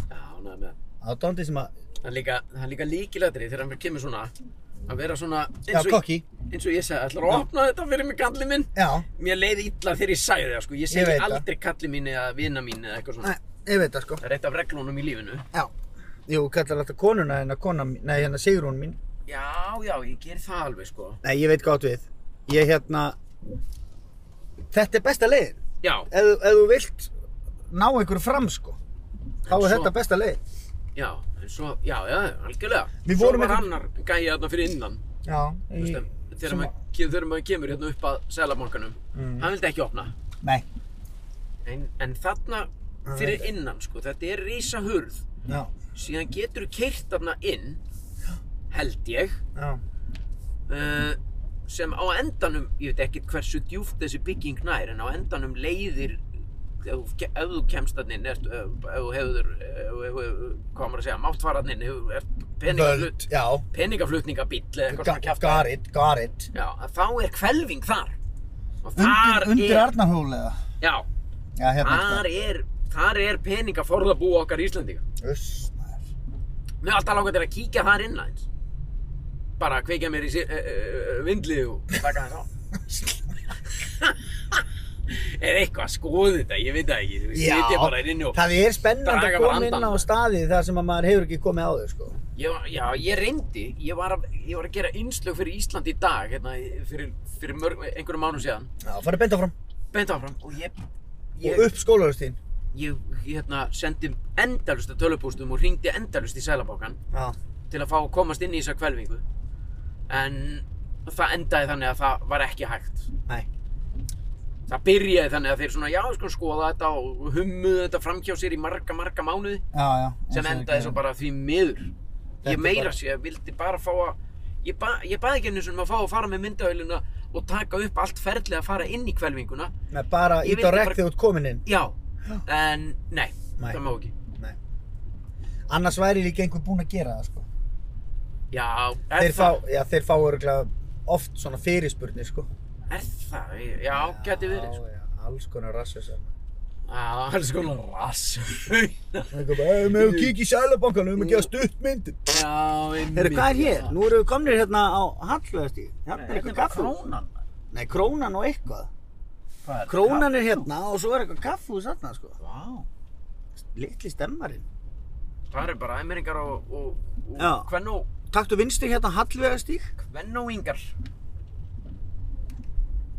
Já, ánæði með þig.
Átáðandi sem að...
Það er líka, það er líka líkilætri þegar hann kemur svona að vera svona
Já,
eins og,
kokki.
eins og ég segi, ætlar að opna þetta fyrir mig kalli minn.
Já.
Mér leiði illa þegar ég sagði það, sko. Ég
Ég
segi
veit það.
aldrei kalli mín eða vina mín eða eitthvað svona.
Nei, ég veit það sko.
Það er eitt af reglunum í lífinu.
Já. Jú, kallar alltaf konuna hérna, kona, mín- nei hérna Sigrún mín.
Já, já, ég ger það alveg sko.
Nei, ég veit hvað átt við. Ég hérna, þetta er besta leiðin.
Já,
Ef, þú- ef þú vilt ná einhverju fram sko, þá er
En svo-
þetta besta leiðin.
já, en svo, já, já, algjörlega.
Við
svo
vorum
var
einhvern-
annar gæi hérna fyrir innan,
Já.
þú veist, en þegar maður ke- þegar maður kemur hérna upp að selabankanum.
Mm.
Hann vildi ekki opna.
Nei.
En, en þarna
Hann
fyrir innan, sko, þetta er rísa hurð.
Já.
Síðan getur þú keirt þarna inn, held ég,
Já.
uh, sem á endanum, ég veit ekkert hversu djúft þessi bygging nær, en á endanum leiðir, ef, þú ke- ef þú kemst þarna inn, ert, eh, ef, ef þú hefur, eh, ef þú hefur, hvað á maður að segja, máttfarðan inn, hefur, ert peningaflut,
Völd, já.
peningaflutningabíll eða eitthvað svona
Ga-
kjafta.
Got it, got it.
Já, að þá er hvelfing þar. Og
Undir,
þar
undir
er,
Arnarhól eða?
já,
Já, hérna.
þar er, þar er peningaforðabú okkar Íslendinga.
sko. Uss, maður.
Mér er alltaf langað til að kíkja þar inn aðeins. Bara að kveikja mér í uh, uh, vindli og taka þess á. Eða eitthvað að skoða þetta, ég veit það ekki. Þú veist,
Já,
sitja bara hér inni og...
það er spennandi
Draga
að
bara
koma inn á
andann. sko.
staði þar sem að maður hefur ekki komið áður sko.
Ég, var- já, ég reyndi, ég var, að, ég var að gera innslög fyrir Ísland í dag, hérna, í- fyrir, fyrir mörg, einhverjum mánu síðan.
Já, farið beint áfram.
Beint áfram og ég...
Og
Ég,
upp skólarhustíðin.
ég hérna, sendi endalust að tölupústum og ringdi endalust í sælabókan
Já.
til að fá að komast inn í þessa kvelvingu. En það endaði þannig að það var ekki hægt.
Nei.
það byrjaði þannig að þeir svona já, við skulum skoða þetta og hummuðu þetta framhjá sér í marga, marga mánuði
Já, já.
sem endaði svo bara því miður.
Þetta er
Ég meira
bara-
sér, ég vildi bara fá að, ég, ba, ég baði ekki einu sinni um að fá að fara með myndavélina og taka upp allt ferlið að fara inn í kvelvinguna.
Nei, bara
Ég
ít
vildi
á
bara-
rekk þegar þú ert komin inn.
Já, en nei,
Nei.
það má ekki.
Annars væri líka einhver búinn að gera það sko.
Já, er
Þeir fá,
það,
já, þeir fá öruglega oft svona fyrirspurnir sko.
er það, já, geti verið. sko.
Já, já, alls konar rassisar.
Já, alls
sko
konar rass.
Það er eitthvað bara, við hefum kíkja í sælabankan, við hefum að gera stuttmynd.
Já, einmitt.
Herru, hvað er hér? Nú erum við komnir hérna á Hallveðastíð. Hérna er
Þetta
eitthvað
er bara
kaffhús.
krónan.
Nei, krónan og eitthvað.
Hvað er-
Krónan er hérna og svo er eitthvað kaffhús þarna, sko.
Vá.
Litli stemmarinn.
Það eru bara æmeringar og, og,
Já.
og kvennó,
Taktu vinstri hérna Hallvegastíg.
kvennóingar.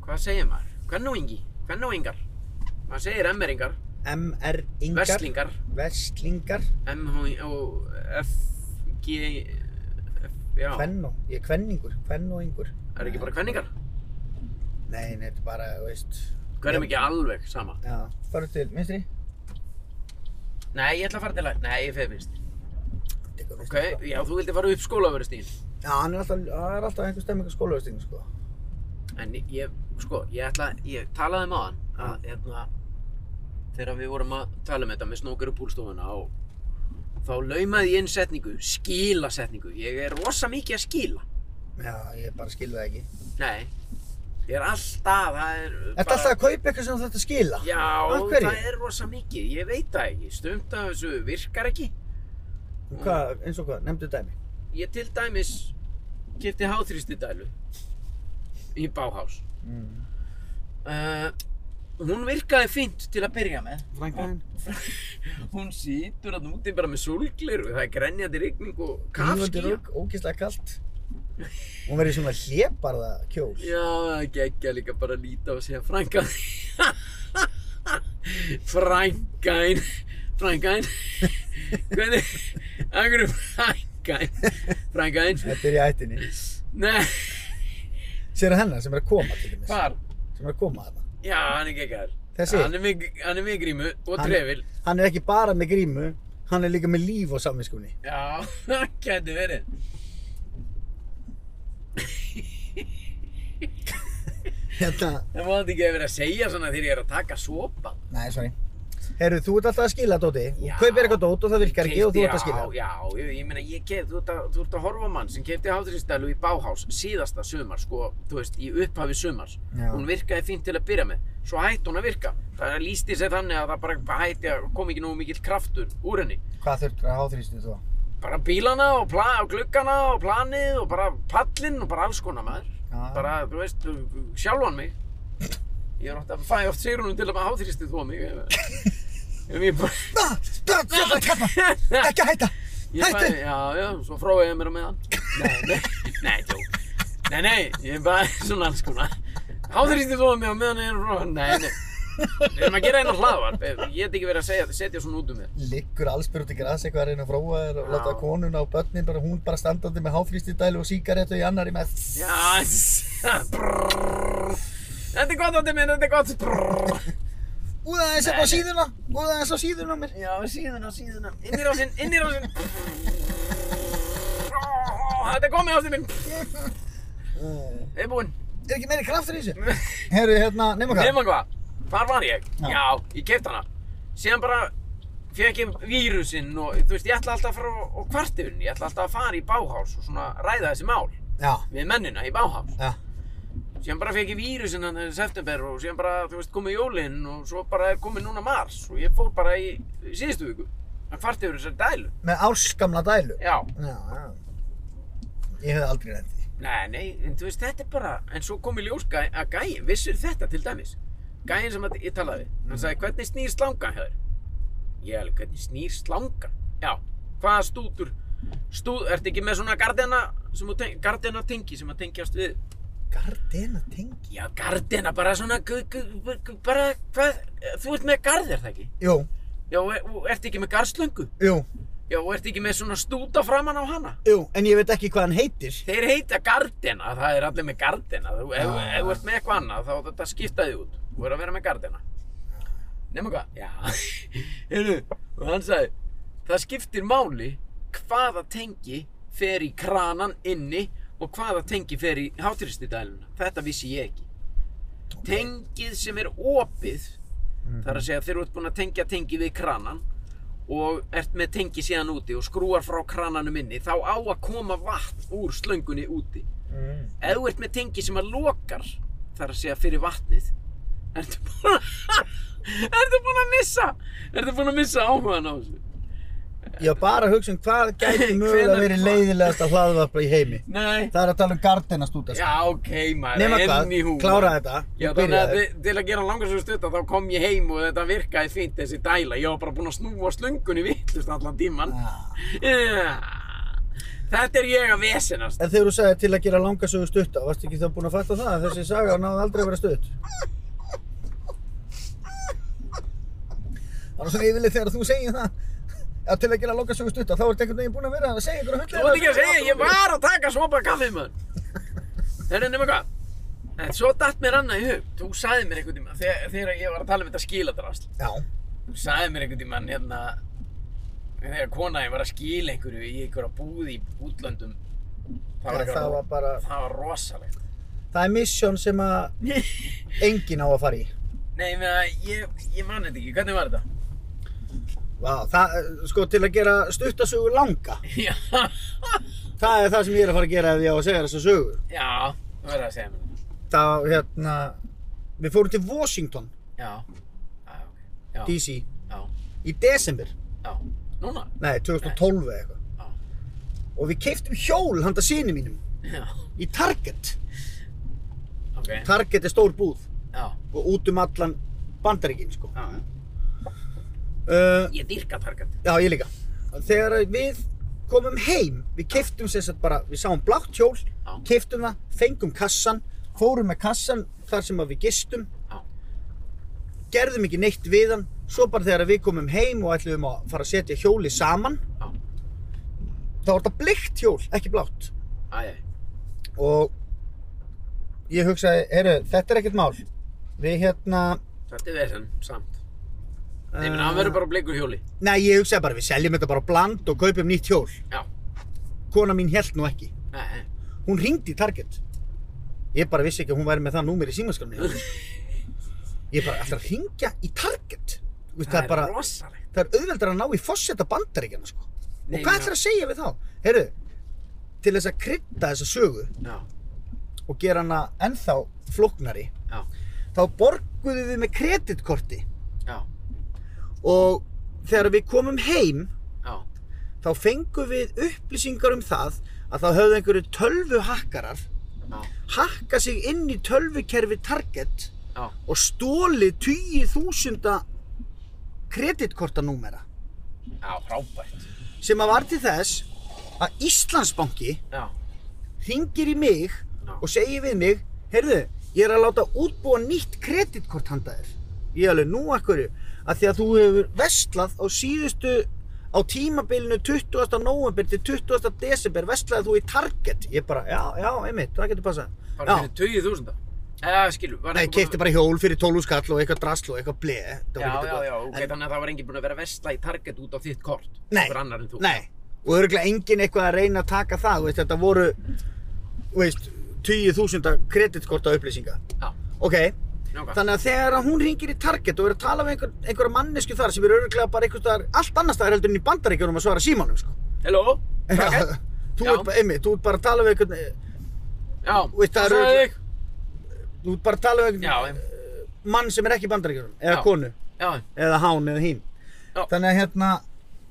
Hvað segir maður? Kvennóingi, kvennóingar. Maður segir emmeringar,
MR Ingar.
veslingar,
Veslingar.
MH og FG, F, já,
Kvenno. Ég er kvenningur. Kvenno yngur.
er ekki bara kvenningar?
Nei, nei, þetta er bara, þú veist.
Hverjum ekki alveg sama?
Já. Farðu til vinstri.
Nei, ég ætla að fara til að, nei, ég feð finnst.
Tekur
Ok, já, þú vildi fara upp skólaverðustíðin.
Já, hann er alltaf, það er alltaf einhver stemmingar skólaugastinu, sko.
En ég, sko, ég ætla, ég talaði um aðan að, hérna, þegar við vorum að tala um þetta með snókar og búlstofuna og þá laumaði ég inn setningu, skilasetningu. Ég er rosa mikið að skila.
Já, ég bara skil það ekki.
Nei, ég er alltaf, það er
Ertu alltaf að kaupa eitthvað sem þú þarft að skila? Af
Já,
hverju?
það er rosa mikið, ég veit það ekki, stumt af þessu virkar ekki.
Hvað, eins og hvað, nefndu dæmi.
Ég til dæmis kefti háþrýstidælu í Bauhaus.
Mm. Eh,
Uh, hún virkaði fínt til að byrja með.
Frænka þín?
Hún situr að úti bara með sólgleru, það er grenjandi rigning og
Kafskía.
kafskýja.
Ógislega kalt. Hún verður svona hlébarða kjól.
Já, það geggja líka bara að líta og segja frænka Frænkain, frænkain, hvernig, af hverju frænkain, frænkain,
Þetta er í ættinni.
nei,
Sér hennar sem er að koma til dæmis.
hvar?
Sem er að koma þarna.
Já, hann er geggjaður.
Þessi?
Hann er með, hann er með grímu og
Hann-
trefil.
Hann er ekki bara með grímu, hann er líka með líf og samvinskunni.
Já, það gæti verið.
Hérna,
Það má þetta ekki að vera að segja svona þegar ég er að taka sopa.
nei, sorry. Herru, þú ert alltaf að skila, Dóti. Þú
Já.
kaupir eitthvað Dót og það virkar ekki og þú
Keypti-
ert að skila.
Já, já, ég, ég meina, ég kef, þú, ert að, þú ert að horfa á mann sem kefti hátrýstælu í Bauhaus síðasta sumar, sko, þú veist, í upphafi sumars.
Já.
Hún virkaði fínt til að byrja með, svo hætti hún að virka. Það lísti sér þannig að það bara hætti að kom ekki nógu mikill kraftur úr henni.
Hvað þurftur að háþrýstu þú?
Bara bílana og, pla, og gluggana og planið og bara pallinn og bara alls konar maður.
Já.
Bara, þú veist, sjálfan mig. Ég er ofta að fæ oft sigrunum til að maður háþrýsti þú mig. Um ég bara...
Ah, ah, Ég fæ kaffa, ekki að hætta.
Ég
Hættu.
fæ, já, já, svo fróði ég mér á meðan. Nei, nei, nei, jó. Nei, nei, ég er bara svona alls konar. Háþrýstir fóða mig á meðan ég er að fróða. Nei, nei. Við erum að gera einar hlaðvarp. Ég get ekki verið að segja, setja svona út um þér.
Liggur allsbyr út í græs eitthvað að reyna að fróa þér og
Já.
láta konuna og börnin bara, hún bara standandi með háfrýstidælu og sígarettu í annari með
Já, s- brrrr. Þetta er gott, Ótti minn, þetta er gott. Brrrr.
Úða eins
Nei,
upp á
nei.
síðuna, úða eins á síðuna á mér.
Já, síðuna, síðuna. Innir á sinn, innir á sinn. Þetta er komið, Ótti minn.
Uh,
Við erum búinn.
Er ekki meiri kraftur í þessu? Herru, hérna, nema hvað?
Nefna hvað, hvar var ég?
Já.
Já, ég keipt hana Síðan bara fekk ég vírusinn og þú veist, ég ætla alltaf að fara og- og kvart yfir henni Ég ætla alltaf að fara í báhás og svona ræða þessi mál
Já,
Við mennina í báhás
já.
Síðan bara fekk ég vírusinn hann í september og síðan bara, þú veist, komið jólinn og svo bara er komið núna mars Og ég fór bara í, í síðustu viku að kvart yfir þessari dælu
Með árskamla dælu.
Já,
Já, já. Ég hef aldrei reynd því.
nei, nei, en þú veist, þetta er bara En svo komið ljós gæ, að gæin, vissir þetta til dæmis Gæin sem að, ég talaði við Hann sagði, hvernig snýr slangan hjá þér? Ég alveg, hvernig snýr slangan? Já, hvaða stútur? Stú, ertu ekki með svona gardena, sem þú teng, gardena tengi sem að tengjast við?
Gardena tengi.
Já, gardena, bara svona, gu- gu- gu- gu- bara, hvað, þú ert með garð, er það ekki?
Jú,
Já, og er, og ertu ekki með garðslöngu?
jú,
Já, og ertu ekki með svona stúta framan á hana?
jú, en ég veit ekki hvað hann heitir.
Þeir heita gardena, það er allir með gardena. Þú, ef,
Já.
ef þú ert með eitthvað annað, þá þetta skiptaði út. Þú er að vera með gardena. Nefnum hvað? Já. Heyrðu, og hann sagði, það skiptir máli hvaða tengi fer í kranan inni og hvaða tengi fer í hátristidæluna. Þetta vissi ég ekki. Tengið sem er opið,
Mhm.
það er að segja þeir eru búin að tengja tengi við kranan og ert með tengi síðan úti og skrúar frá krananum inni, þá á að koma vatn úr slöngunni úti.
Mm.
Ef þú ert með tengi sem að lokar, þar að segja fyrir vatnið, ertu búinn að, ertu búinn að missa, ertu búinn að missa áhugan á þessu.
Ég var bara að hugsa um hvað gæti mögulega
Hvenær-
verið leiðilegasta hlaðvarpa í heimi.
Nei.
Það er að tala um gardena stúta.
Já, ok, maður,
Nema hvað,
enn í húma.
klára þetta.
Já,
og
þannig
byrja
að þi- til að gera langar svo stutta þá kom ég heim og þetta virkaði fínt þessi dæla. Ég var bara búinn að snúa slöngunni vittlust allan tíman.
Já.
Þetta er ég að vesenast.
En þegar þú sagði til að gera langasögu stutta, varstu ekki þá búin að fatta það að þessi saga náði aldrei að vera stutt? Það er svona yfirleitt þegar þú segir það, að til að gera langasögu stutta, þá ertu einhvern veginn búin að vera að segja einhverja hundlega.
Þú veit ekki að segja, ég var að taka svopa kaffi, maður. Herru, nema hvað? En svo datt mér annað í hug. Þú sagði mér einhvern tíma, þegar, þegar ég var að tala um þetta skiladrasl.
Já,
Þú sagði mér einhvern tíma, hérna, þegar konaði var að skila einhverju í einhverja búð í útlöndum.
það var, það var bara,
það var rosalegt.
það er misjón sem að
Nei,
enginn á að fara í.
ég meina, ég, ég man þetta ekki. Hvernig var þetta?
Vá, það, sko, til að gera stuttasögu langa,
Já,
það er það sem ég er að fara að gera ef ég á að segja þessa sögu.
já, þú verður að segja mér þetta.
Það, hérna, við fórum til Washington,
Já, já, ok. Já,
D.C.
já,
í desember,
já. Núna?
nei, 2012 eða eitthvað.
Já,
og við keiftum hjól handa síni mínum
já,
í Target
ok.
Target er stór búð
Já,
og út um allan bandaríkin sko.
já, já.
uh,
Ég dyrka Target.
já ég líka þegar við komum heim við keiftum sem sagt bara, við sáum blátt hjól
Já.
keiftum það, fengum kassan fórum með kassan þar sem að við gistum
Já.
gerðum ekki neitt við hann svo bara þegar við komum heim og ætlum að fara að setja hjóli saman
Já.
þá var þetta bleikt hjól, ekki blátt
Æ,
og ég hugsaði, heyrðu, þetta er ekkert mál við hérna
þetta er vesen, samt. Nei,
eh,
menn, hann verður bara bleikur hjóli.
nei, ég hugsaði bara, við seljum þetta bara bland og kaupum nýtt hjól
Já.
kona mín held nú ekki,
Nei,
hún ringdi í Target ég bara vissi ekki að hún væri með það númer í símaskramni ég bara, alltaf að ringja í Target Þú veist, það, er bara,
rosalegt.
það er auðveldar að ná í fósetta bandaríkjana sko.
Nei,
og hvað
ég
ætlar að segja við þá? heyrðu, til þess að krydda þessa sögu
Já,
og gera hana ennþá flóknari
já,
þá borguðum við með kreditkorti
já,
og þegar við komum heim
já,
þá fengum við upplýsingar um það að þá höfðu einhverju tölvuhakkarar
já,
hakka sig inn í tölvukerfi Target
já,
og stólið 20.000 þúsunda kreditkortanúmera
Já, frábært.
sem að var til þess að Íslandsbanki
Já,
ringir í mig og segir við mig heyrðu, ég er að láta útbúa nýtt kreditkort handa þér ég alveg nú akkur að því að þú hefur vestlað á síðustu á tímabilinu 20. november til 20. desember vestlaði þú í Target ég bara, já, já, einmitt, það getur passað
bara
já,
fyrir 20.000. Já, skilur, var
nei, keipti bara hjól fyrir 12 skall og eitthvað drasl og eitthvað bleið þetta var
Já,
ekkert
já,
eitthvað-
já, ok,
en-
þannig að það var enginn búinn að vera að vestla í Target út á þitt kort.
Nei.
Fyrir annar en þú.
Nei, og örgulega enginn eitthvað að reyna að taka það, þú veist, þetta voru, þú veist, 20.000 kreditkorta upplýsinga.
Já,
Ok,
njóka.
þannig að þegar að hún ringir í Target og er að tala við einhver, einhverja mannesku þar sem er örgulega bara einhvers staðar, allt annars staðar heldur en í bandaríkjunum að svara símanum, sko.
Hello, Target?
Já, þú
Já.
ert bara, einmitt, þú ert bara að tala við einhvern,
Já,
veist, það
hvað
eru-
sagði þig?
þú ert bara að tala við
Já,
einhvern
em,
mann sem er ekki í bandaríkjunum, eða
Já.
konu,
já, em,
eða hán, eða hím.
Já.
Þannig að hérna,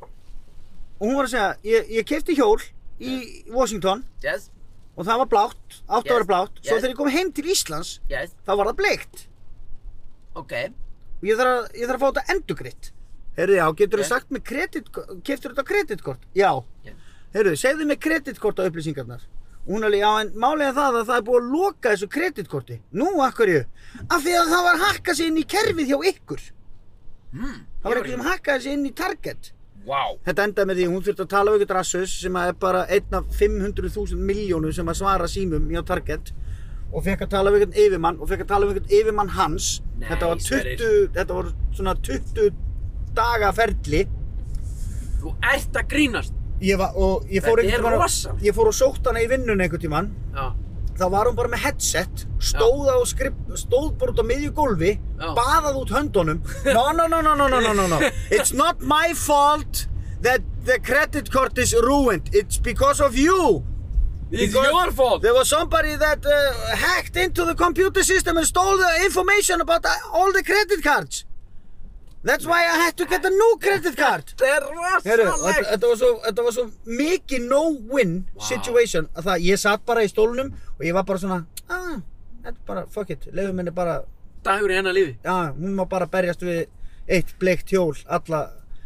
og hún var að segja, ég, ég kefti hjól í Washington,
yes,
og það var blátt, átt að
Yes,
vera blátt svo
yes.
þegar ég kom heim til Íslands
yes,
þá var það bleikt
ok,
og ég þarf að, ég þarf að fá þetta endugritt heyrðu já, getur þú
Yes.
sagt mér kredit keftur þetta á kreditkort? Já
Yes.
heyrðu, segðu mér kreditkort á upplýsingarnar og hún alveg, já en málega það að það er búið að loka þessu kreditkorti nú, akkurju, af því að það var hakkað sér inn í kerfið hjá ykkur
hmm,
það var einhver sem hakkaði sér inn í target
wow,
Þetta endaði með því að hún þurfti að tala við eitthvað rassus sem að er bara einn af 500.000 miljónu sem að svara símum hjá Target og fekk að tala við eitthvað yfirmann og fekk að tala við eitthvað yfirmann hans
Nei,
þetta, var 20,
Sverrir.
þetta var svona 20 daga ferli
þú ert að grínast,
ég var, og ég
Þetta
fór
er
einhvern
rosalegt.
tímann ég fór og sótt hana í vinnunni einhvern tímann
já,
þá var hún bara með headset stóð, á skrif, stóð bara út á miðju gólfi
Já.
baðað út höndunum no no no no no no no no no it's not my fault that the credit card is ruined it's because of you
it's
Because-
your fault,
there was somebody that uh, hacked into the computer system and stole the information about uh, all the credit cards that's why I had to get a new credit card
þetta er
Heru, þetta,
rosalegt,
þetta, var svo, þetta var svo mikið no-win situation að það ég satt bara í stólnum og ég var bara svona ah, þetta er bara, fuck it, leiðum henni bara
dagur í hennar lífi,
já, hún má bara berjast við eitt bleikt hjól alla,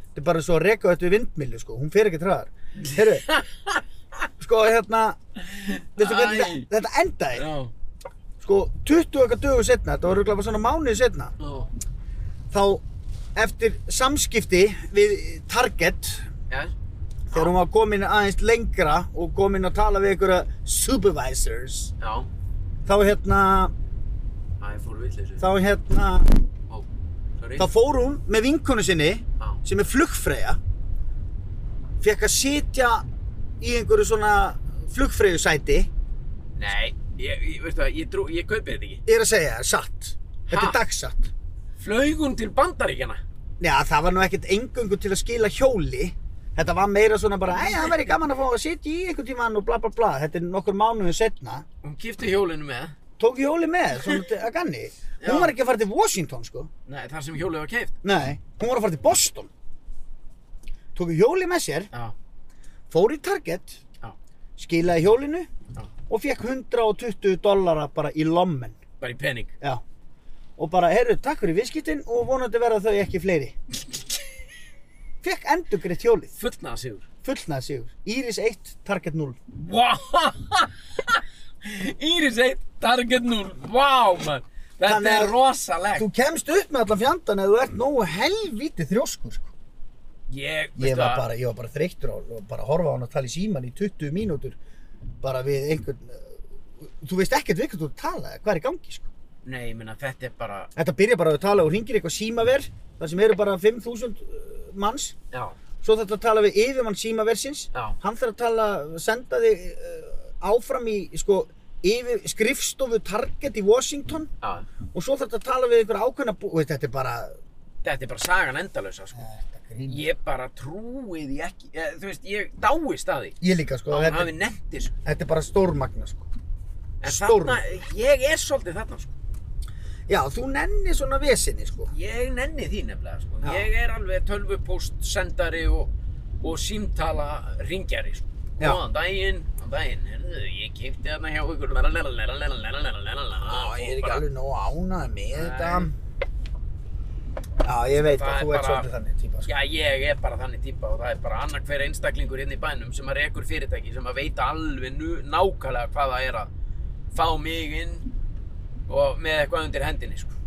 þetta er bara svo að reka þetta við vindmilju sko, hún fer ekki træðar Heru, sko hérna veistu hvernig
Æ.
þetta, þetta endaði
já,
sko 20 okkar dögur setna, þetta var röglega bara svona mánuði setna
já,
þá eftir samskipti við Target
yes,
þegar hún var komin aðeins lengra og komin að tala við einhverja supervisors
já,
þá hérna
það er fór vill þessu,
þá hérna
ó, sorry,
þá fór hún með vinkonu sinni
já,
sem er flugfreyja fekk að sitja í einhverju svona flugfreyjusæti
nei, ég, ég, veistu það, ég trú, ég kaupi þetta ekki,
ég er að segja þér satt þetta
Ha?
er dagsatt
flaugun til bandaríkjana,
Já, það var nú ekkert engöngu til að skila hjóli Þetta var meira svona bara, ei, það væri gaman að fá að sitja í einhvern tímann og bla bla bla Þetta er nokkur mánuðin setna
hún kipti hjólinu með,
Tók hjóli með, svona til- að ganni Hún
Já.
var ekki að fara til Washington, sko
nei, þar sem hjólið var keift,
Nei, hún var að fara til Boston Tók hjóli með sér,
já,
fór í Target
já,
Skilaði hjólinu
Já.
Og fekk 120 dollara bara í lommen
bara í pening,
Já Og bara, heyrðu, takk fyrir viðskiptin Og vonandi verða þau ekki fleiri Fekk endugreitt hjólið
fullnaða sigur,
Fullnaði sigur Íris 1, Target 0
Wow! Íris 1, Target 0. Wow, man. Þetta
Þannig
er
að-
rosalegt.
Þú kemst upp með allan fjandan Ef þú ert nógu helvítið þrjóskur sko. ég,
Ég, veistu
var
það,
bara, ég var bara þreyttur á Og bara að horfa á hann að tala í síman í 20 mínútur Bara við einhvern uh, Þú veist ekkert við hvernig þú ert að tala eða Hvað er í gangi sko
nei, ég minna, þetta er bara,
Þetta byrja bara að tala og ringir eitthvað símaver þar sem eru bara 5.000 uh, manns
já,
Svo þetta tala við yfirmann símaversins
já,
Hann þarf að tala, senda þig uh, áfram í sko, yfir, skrifstofu Target í Washington
já.
og svo þarf þetta að tala við einhver ákveðna bú... Veit, þetta er bara...
Þetta er bara sagan endalösa, sko.
Þetta grínir.
Ég bara trúi því ekki, eh, þú veist, ég dáist að því.
Ég líka, sko.
Og hann
Þetta,
hafi nefnt þessu.
þetta er bara stórmagna, sko.
En
Stórm.
þarna, ég er svolítið þarna, sko.
Já, þú nennir svona vesinni, sko.
Ég nenni því nefnilega, sko.
Já.
Ég er alveg tölvupóst sendari og, og símtala ringjari, sko.
Já.
Góðan daginn, góðan daginn, herðu, ég kipti þarna hjá ykkur, lalalalalalalalalalalala.
Á, ég er ekki alveg nóg ánað með þetta. Já, ég veit
Það
að
er
þú ert
bara-
svolítið þannig típa. Sko.
Já, ég er bara þannig típa og það er bara annar hver einstaklingur hérna í bænum sem að rekur fyrirtæki sem að veita alveg nú, nákvæmlega hvað það er að fá mig inn og með eitthvað undir hendinni, sko.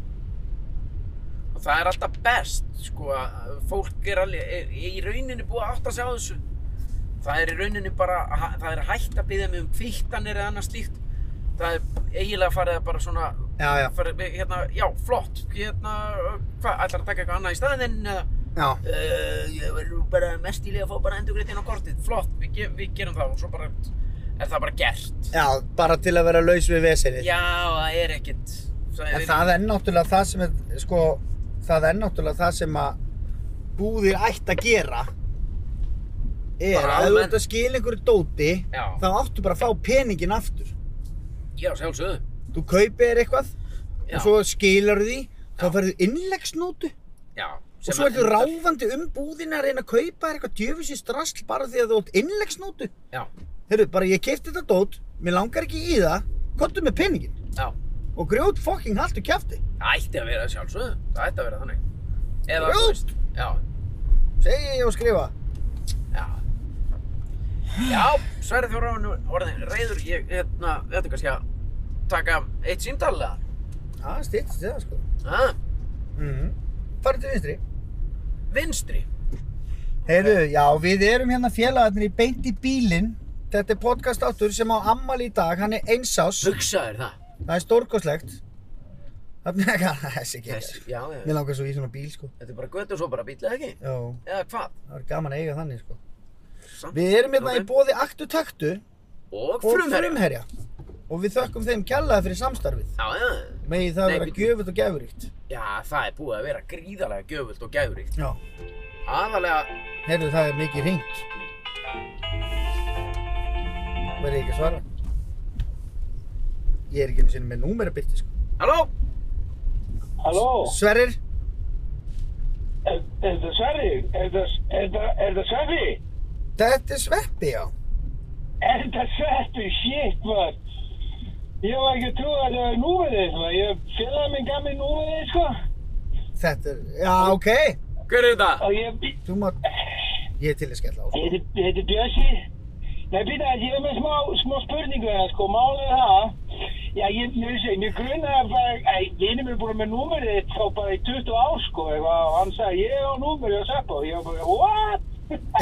Og það er alltaf best, sko, að fólk er alveg, er, er í rauninni búið að átta sig á þessu. Það er í rauninni bara, ha- það er hægt að byggja mig um kvittanir eða annað slíkt. Það er eiginlega farið að bara svona,
Já, já,
farið, hérna, já, flott, hérna, hvað, ætlar að taka eitthvað annað í staðinn eða?
já.
uh, ég verður nú bara mest í liði að fá bara endurgrétt inn á kortið, flott, við, ge við gerum það og svo bara er það bara gert.
Já, bara til að vera laus við vesenið.
Já, það er ekkert, það
En
Eh. er,
það er náttúrulega það sem er, sko, það er náttúrulega það sem að búðir ætti að gera er
Bara
að ef þú
almennt.
ert að skila einhverju dóti
Já.
þá áttu bara að fá peningin aftur.
já, sjálfsögðu,
Þú kaupir þér eitthvað
já,
og svo skilar því, þá
Já.
færðu innleggsnótu
já.
og svo ertu ráfandi um búðina að reyna að kaupa þér eitthvað djöfisins drasl bara því að þú átt innleggsnótu.
Já,
Heyrðu, bara ég kefti þetta dót, mér langar ekki í það, kontu með peningin
já,
og grjót fokking haltu kjafti.
það ætti að vera sjálfsögðu, það ætti að vera þannig. Eða,
Rjótt!
þú veist, já,
Segja ég og skrifa.
já. Já, Sverri Þjóraðan orðin reyður, ég, hérna, við ættum kannski að taka eitt símdalega.
Það stýttist það sko.
Ah,
Mhm. Farðu til vinstri.
vinstri.
Heyrðu, já, við erum hérna félagarnir í Beint í bílinn. Þetta er podcast áttur sem á ammali í dag, hann er einsás.
Hugsaður það.
Það er stórkoslegt. Þannig að það er sér
Þessi,
ekki.
já, já.
Mér langar svo í svona bíl, sko.
Þetta er bara götu og svo bara bíl, eða ekki?
Já,
Eða hvað?
það er gaman að eiga þannig, sko.
Samt.
Við erum hérna
Ok.
í bóði Aktu Taktu
Og
og
frumherja.
Frumherja. Og við þökkum þeim kjallaði fyrir samstarfið.
Já, já.
Megi það
Nei,
vera
bíddu.
gjöfut og gefuríkt.
Já, það er búið að vera gríðarlega gjöfult og gæfuríkt.
Já.
Aðalega,
Heyrðu, það er mikið hringt. Verði ekki að svara. Ég er ekki einu sinni með númerabirti, sko.
halló?
Halló,
Sverrir?
er er það Sverri? Er það, er það, er það Sverri?
Þetta er sveppi, já.
Er það Sverri? Shit, maður. Ég var ekki að trúa að það var núverið, maður. Ég félagði minn gamli núverið, sko.
Þetta er, já, ok.
Hver er þetta?
Og ég,
Þú mátt, ég er til að skella á.
ég heiti- ég heiti Bjössi. Nei, býta, ég var með smá, smá spurningu hérna, sko. Málið er það. Já, ég, ég segi, mér grunnaði að bara, æ, vinur mér búin með númerið þitt þá bara í 20 ár, sko. Eitthvað, og hann sagði, ég á númerið og sepp og ég var bara, what?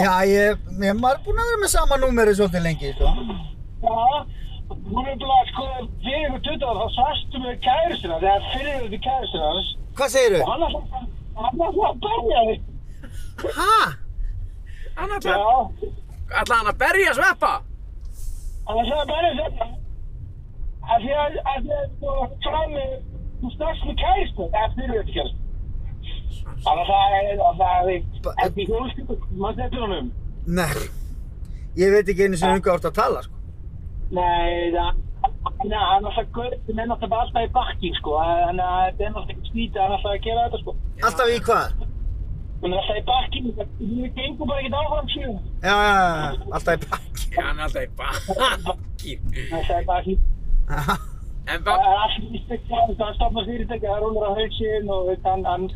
Já, ég, ég er maður búinn að vera með sama númeri svolítið lengi, sko.
Já, hún er bara sko fyrir ykkur tuttuð þá svarstu með kæristuna þegar fyrir ykkur kæristuna hans
Hvað segirðu?
og hann ætlaði hann ætlaði að berja þig
Hæ?
Hann ætla,
Já,
ætla hann að berja sveppa?
hann ætlaði að berja þig af því að af því að þú fram með þú snakst með kæristuna þegar fyrir ykkur kæristuna þannig að það er og það er ekki hólskipur maður þetta honum um.
Nei, ég veit ekki einu sinni um hvað þú ert að tala, sko.
Nei, það Nei, hann er alltaf, hann er alltaf alltaf í bakki, sko, þannig að þetta er alltaf ekki snýta, hann er alltaf að gera þetta, sko.
Alltaf í hvað?
Hún er alltaf í bakkinu, við gengum bara ekkert áfram síðan.
Já, já, já, alltaf í bakki.
Já, Hann er alltaf í bakkin.
Það er bara ekki,
Aha.
En
það
bara,
er allt í stekja, það stopnað fyrirtækja, það rúlar á hausinn og veist, hann, hann,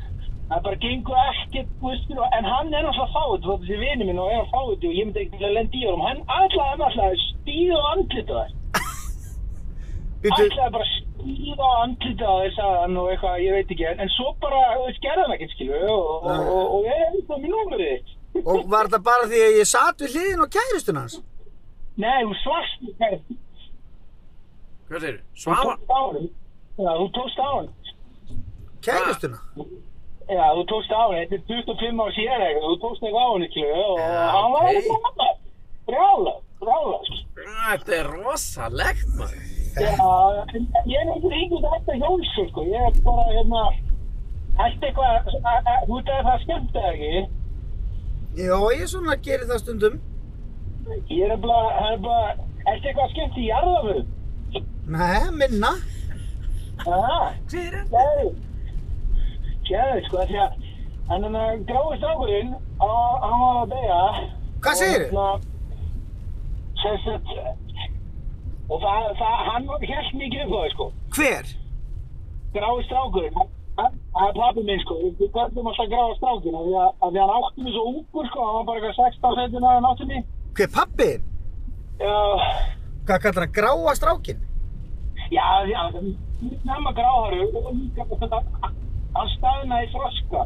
hann bara gengur ekkert, þú veist, og- en hann er náttúrulega fáið, þú veist, þessi vinið minn og er fáið og ég myndi ekkert að lenda í honum, hann ætlaði hann alltaf að stíða á andlita þær.
Býttu,
Ætlaði bara að stíða á andlita þær, sagði hann og eitthvað, ég veit ekki, en, en svo bara, þú veist, gerði hann ekkert, skilju, og, og, og, og, og ég er eitthvað minn númerið þitt.
og var þetta bara því að ég satt við hliðin á kæristun hans?
Nei, þú svast, þú
hvað segir? Svava?
tókst á hann, já, þú tókst á hann.
Kæristuna?
Já, þú tókst á henni, þetta er 25 ár síðan eitthvað, þú tókst eitthvað á henni, ekki, og
Já,
hann var
ok.
alveg brjála, brjála, sko.
Þetta er rosalegt, maður.
Já, en ég er ekki ríkur þetta hjólsum, sko, ég er bara, hérna, allt eitthvað, a- a- þú veit að það skemmt eða ekki,
Já, ég svona gerir það stundum.
ég er bara, það er bara, allt eitthvað skemmt í jarðaföðu,
Nei, minna.
aha,
Hver er þetta?
gæðu, gæðu, sko, því að, en þannig að gráði strákurinn, á- hann var að hérna, beja,
Hvað segirðu?
Sessat, og það, það, hann held mikið upp á það, sko.
Hver?
Grái strákurinn, hann- Það er pabbi minn sko, við göndum alltaf gráða strákina því að, að því hann átti mig svo ungur sko, hann var bara eitthvað 16 setjum að hann átti mig.
Hver pappiðin?
Já,
Hvað kallar hann? Gráa strákinn?
já, já, nema gráðaru, hann staðnaði þroska.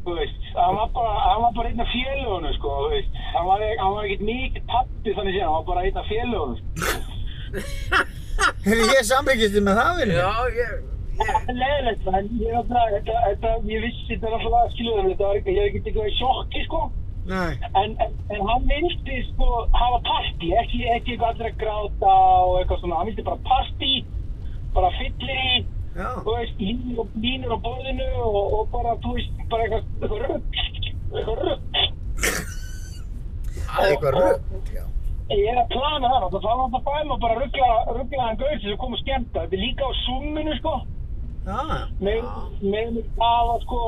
Þú veist, hann var bara, hann var bara einn af félögunum sko, þú veist, hann var, hann var ekkert mikið pabbi þannig séð, hann var bara einn af félögunum. sko.
Hefur ég sambyggist þið með það, vinur? minn?
Já, ég, ég,
Það er leðilegt, en ég er alltaf, þetta, þetta, ég vissi þetta er alltaf skilurðum, þetta var ekki, ég er ekkert eitthvað í sjokki sko.
Nei.
En, en, en hann vildi sko hafa partí, ekki, ekki eitthvað allir að gráta og eitthvað svona, hann vildi bara partí, bara fyllir í,
Já.
þú veist, línur og línur á borðinu og, og bara, þú veist, bara eitthvað, eitthvað rugg, eitthvað rugg.
Eitthvað rögt, já.
Ég er að plana það, þá var það bæði maður bara að ruggla, ruggla hann gauð sem kom og skemmta, þetta er líka á summinu sko.
Já.
Með, með mig hafa sko